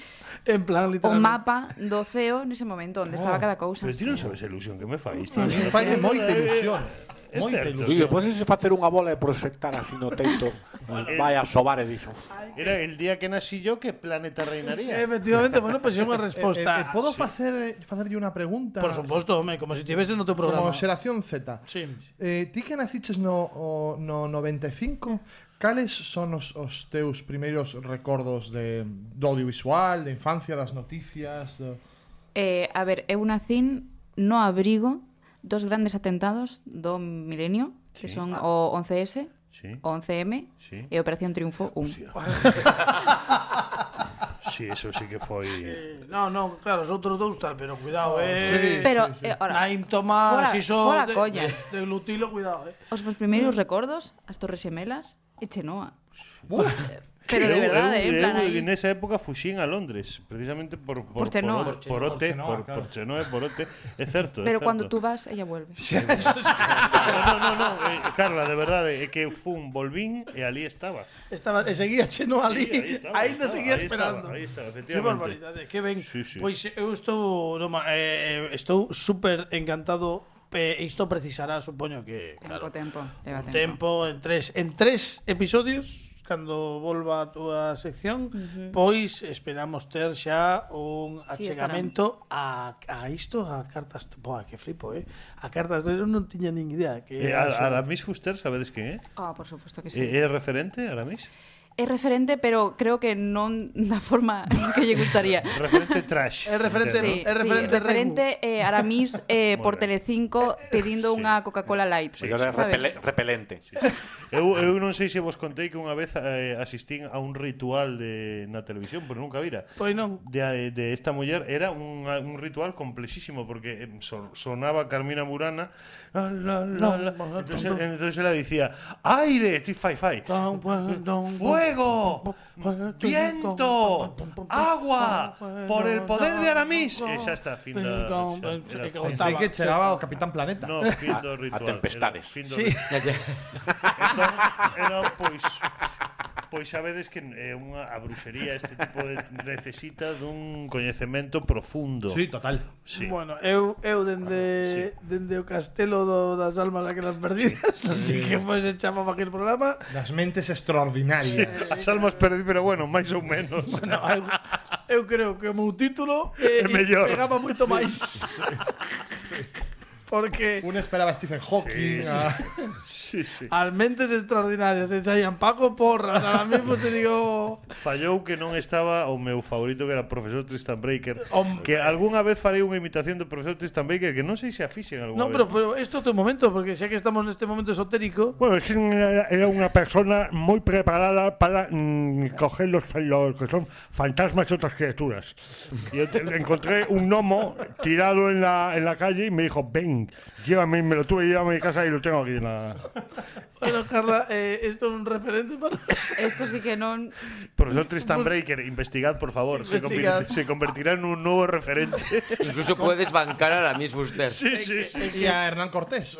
S2: en plan,
S4: o
S2: literalmente.
S4: mapa do ceo nese momento onde estaba cada cousa.
S3: Ah, Pero ti non sabes a ilusión que me fai.
S6: Me fai moita ilusión.
S3: É
S6: Moita
S3: certo.
S6: ilusión.
S5: Digo, podes facer unha bola e proxectar así no teito. Vai a sobar e dixo.
S3: Era el día que nací yo, ¿qué planeta reinaría?
S2: Efectivamente, bueno, pois pues, é unha
S6: Eh, eh,
S2: resposta.
S6: podo facer facerlle unha pregunta?
S2: Por suposto, home, como se estiveses no teu programa.
S6: Como xeración Z.
S2: Sí.
S6: Eh, ti que naciches no, o, no 95, cales son os, os teus primeiros recordos de, do audiovisual, da infancia, das noticias? Do...
S4: Eh, a ver, eu nacín no abrigo dos grandes atentados do milenio, que son o 11S,
S3: Ah. Sí.
S4: o 11M
S3: Sí.
S4: e Operación Triunfo 1.
S3: Sí, eso sí que fue.
S2: Eh, No, no, claro, os outros dous tal, pero cuidado, eh.
S6: Oh, Sí.
S4: Pero,
S6: sí.
S4: eh, ora,
S2: Naim Tomás,
S4: Fora-
S2: iso
S4: fora
S2: de,
S4: coñas.
S2: de, glutilo, cuidado, eh.
S4: os meus primeiros recordos, as Torres Xemelas e Chenoa. Eh,
S6: Uf,
S4: Pero de verdade, en plan aí.
S3: en esa época fuxín a Londres, precisamente por por
S4: Por Chenoa.
S3: por, por Ote,
S6: Chenoa,
S3: por,
S6: claro.
S3: por Chenoa, por Ote. Es cierto.
S4: Pero cando tú vas, ella vuelve.
S3: No, no, no, eh, Carla, de verdade, é que fun, volvín e ali estaba.
S2: Estaba, e seguía cheno ali,
S3: Sí, ahí estaba,
S2: ainda
S3: estaba,
S2: seguía
S3: ahí
S2: esperando.
S3: estaba, ahí estaba,
S2: Que
S3: efectivamente.
S2: barbaridade, que ben.
S3: Sí, sí.
S2: Pois eu estou, no, ma- eh, eh, estou super encantado, eh, isto precisará, supoño que,
S4: Tempo,
S2: claro,
S4: tempo,
S2: un
S4: leva tempo.
S2: tempo en tres en tres episodios cando volva a túa sección, uh -huh. pois esperamos ter xa un
S4: Sí,
S2: achegamento a, a isto, a cartas... Boa, que flipo, eh? A cartas... Eu non tiña nin idea que...
S3: Eh, Ar- Aramis Fuster, sabedes quen é?
S4: Ah, por suposto que sí.
S3: Eh, É referente, Aramis?
S4: É referente, pero creo que non da forma que lle gustaría.
S3: Referente trash.
S2: É referente- é
S4: Sí, sí,
S2: referente
S4: referente eh, Aramis eh, por Telecinco pedindo unha Coca-Cola Light. ¿sabes?
S3: repelente. Sí. Eu, eu non sei se vos contei que unha vez eh, asistín a un ritual de, na televisión, pero nunca vira.
S2: Pois non.
S3: De, eh, de esta muller era un, un ritual complexísimo porque eh, so, sonaba Carmina Burana la, la, la, la. Entonces, entonces ela dicía aire, ti fai fai fuego viento agua por el poder de Aramis e xa está fin da xa, era fin.
S11: Pensei que chegaba o Capitán Planeta.
S3: No, fin do ritual. Era fin do ritual. entón, era, pues, pois, pois sabedes que é unha a bruxería este tipo de necesita dun coñecemento profundo.
S11: Sí, total.
S3: Sí. Ah,
S2: Bueno, eu, eu dende, dende o castelo do, das almas aquelas perdidas, así que pois echamos para aquel programa.
S11: Das mentes extraordinarias.
S3: Sí, as almas perdidas, pero bueno, máis ou menos.
S2: Bueno, eu, eu creo que o meu título eh,
S3: É mellor.
S2: pegaba moito máis. Porque
S11: un esperaba a Stephen Hawking, a-
S3: Sí, sí.
S2: As mentes extraordinarias se chaían Paco Porras, ahora mismo te digo...
S3: Fallou que non estaba o meu favorito que era o profesor Tristan Baker.
S2: Hombre.
S3: Que algunha vez farei unha imitación do profesor Tristan Baker que non sei se afixen algunha
S2: No,
S3: vez.
S2: pero, pero esto é un momento, porque xa que estamos neste momento esotérico...
S12: Bueno, es que era era una persona muy preparada para mm, coger los, los que son fantasmas y otras criaturas. Yo te- encontré un gnomo tirado en la, en la calle y me dijo, ven, llévame, me lo tuve, llévame a mi casa y lo tengo aquí en la...
S2: Bueno, Carla, eh, esto é un referente para...
S4: Esto sí que non...
S3: Profesor Tristan Breaker, investigad, por favor. Se,
S2: Investigad.
S3: convir- se convertirá en un nuevo referente.
S9: Incluso puedes bancar a Aramis Fuster.
S3: Sí, sí, sí.
S11: y a Hernán Cortés.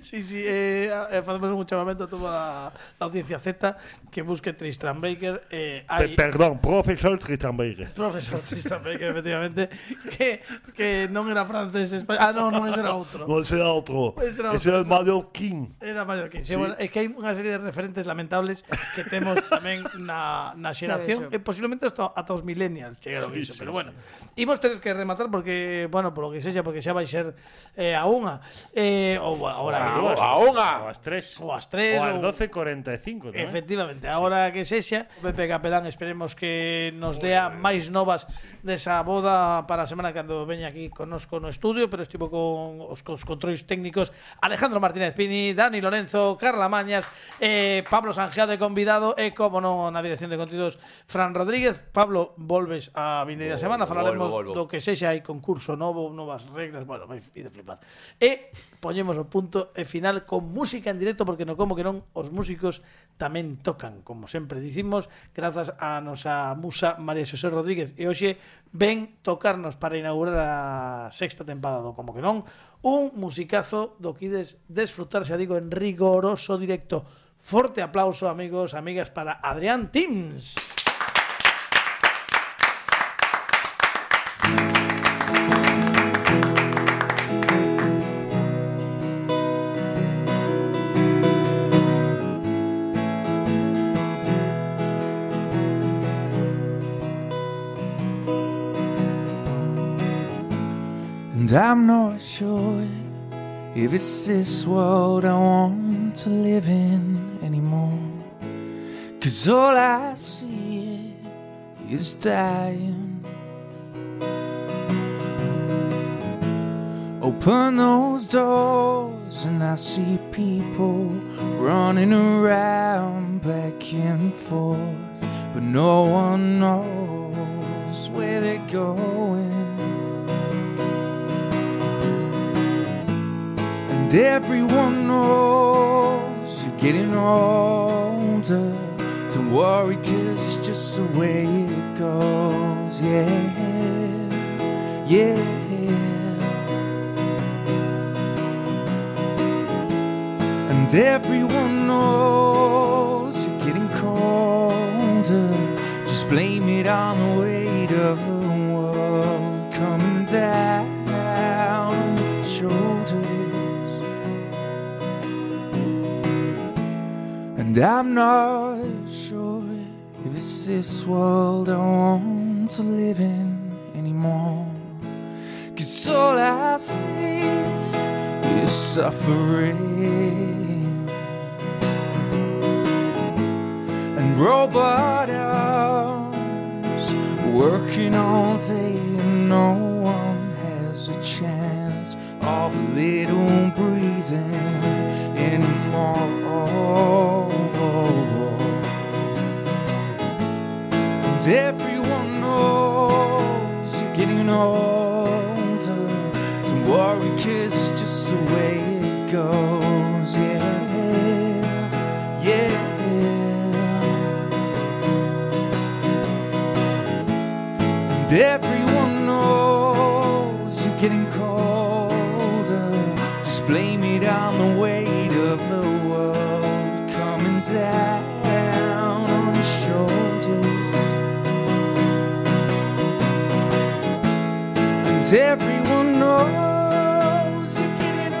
S2: Sí, sí, eh, eh, facemos un chamamento a toda a, a audiencia Z que busque Tristram Baker. Eh,
S12: Pe-
S2: hai
S12: perdón, profesor Tristan Baker.
S2: profesor Tristram Baker, efectivamente, que, que non era francés, espa- ah, non, non, ese era outro.
S3: No, ese era otro.
S2: Ese era
S3: Ese
S2: otro.
S3: era el Mario King.
S2: Era mallorquín. Sí,
S3: Sí.
S2: Bueno, é que hai unha serie de referentes lamentables que temos tamén na, na xeración e
S4: Sabe
S2: posiblemente hasta, ata os millennials chegaron
S3: Sí,
S2: iso,
S3: sí,
S2: pero
S3: sí.
S2: bueno. Imos ter que rematar porque, bueno, polo que sexa, porque xa vai ser eh, a unha. Eh, ou agora
S3: Ou
S5: A unha.
S3: O las 3.
S2: Ou ás tres,
S3: Ah. O las
S2: ou-
S3: 12.45. tamén.
S2: Efectivamente, ahora que sexa, Pepe Capelán esperemos que nos dea máis novas desa boda para a semana cando veña aquí conosco no estudio, pero estivo con os, cos controis técnicos Alejandro Martínez Pini, Dani Lorenzo, Carla Mañas, eh, Pablo Sanjea de convidado e, como non, na dirección de contidos Fran Rodríguez. Pablo, volves a vindeira
S9: Volvo,
S2: semana, falaremos
S9: volvo, volvo.
S2: do que sexa, hai concurso novo, novas reglas, bueno, vai de flipar. E poñemos o punto e final con música en directo, porque no como que non, os músicos tamén tocan, como sempre dicimos, grazas a nosa musa María Xosé Rodríguez. E hoxe ven tocarnos para inaugurar a sexta tempada do como que non, un musicazo do que ides desfrutar, xa digo, en rigoroso directo. Forte aplauso, amigos, amigas, para Adrián Tims.
S6: And I'm not sure if it's this world I want to live in anymore. Cause all I see is dying. Open those doors and I see people running around back and forth. But no one knows where they're going. And everyone knows you're getting older. Don't worry, cause it's just the way it goes. Yeah, yeah. And everyone knows you're getting colder. Just blame it on the weight of the world coming down on your shoulders. And And I'm not sure if it's this world I want to live in anymore. Cause all I see is suffering. And robot arms working all day, and no one has a chance of a little breathing anymore. And everyone knows you're getting older. Don't worry, kids, just the way it goes. Yeah, yeah. And everyone knows you're getting colder. Just blame it on the weight of the world coming down on your shoulders. And everyone knows you're getting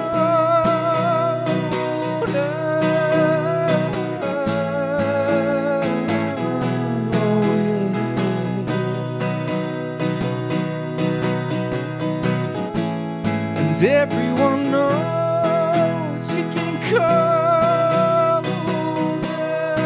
S6: older. Oh, yeah. And everyone knows you can come. Oh,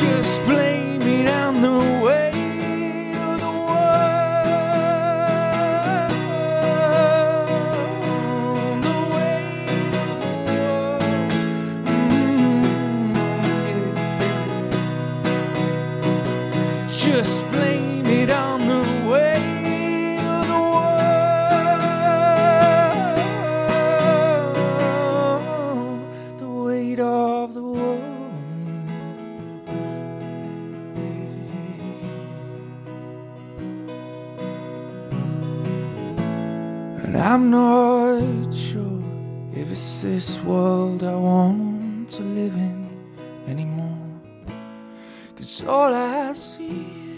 S6: Just blame it on the weight of the world. The weight of the world. Mm, yeah. Just blame it on the weight of the world. The weight of the world. And I'm not sure if it's this world I want to live in anymore. Cause all I see